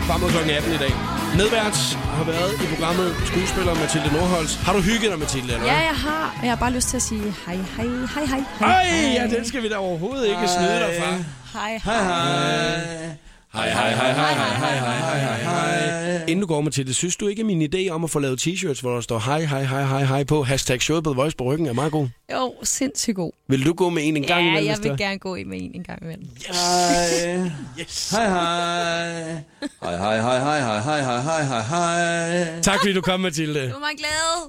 frem mod klokken 18 i dag. Medvært har været i programmet skuespiller Mathilde Nordholz. Har du hygget dig, Mathilde, eller Ja, hvad? jeg har. Jeg har bare lyst til at sige hej, hej, hej, hej. Ej, ja, den skal vi da overhovedet ikke snyde dig fra. Hej, Hej, Hej, hej. hej, hej, hej, hej, hej, hej, hej, hej. Inden du går med til det, synes du ikke, at min idé om at få lavet t-shirts, hvor der står hej, hej, hej, hej, hej på, hashtag showet på The Voice på ryggen, er meget god? Jo, sindssygt god. Vil du gå med en en gang ja, imellem, jeg hvis vil det er? gerne gå i med en en gang imellem. Yes. Hej. Yes. Hej, hej. Hej, hej, hej, hej, hej, hej, hej, hej, hej. Tak fordi du kom, Mathilde. Du er mig glad.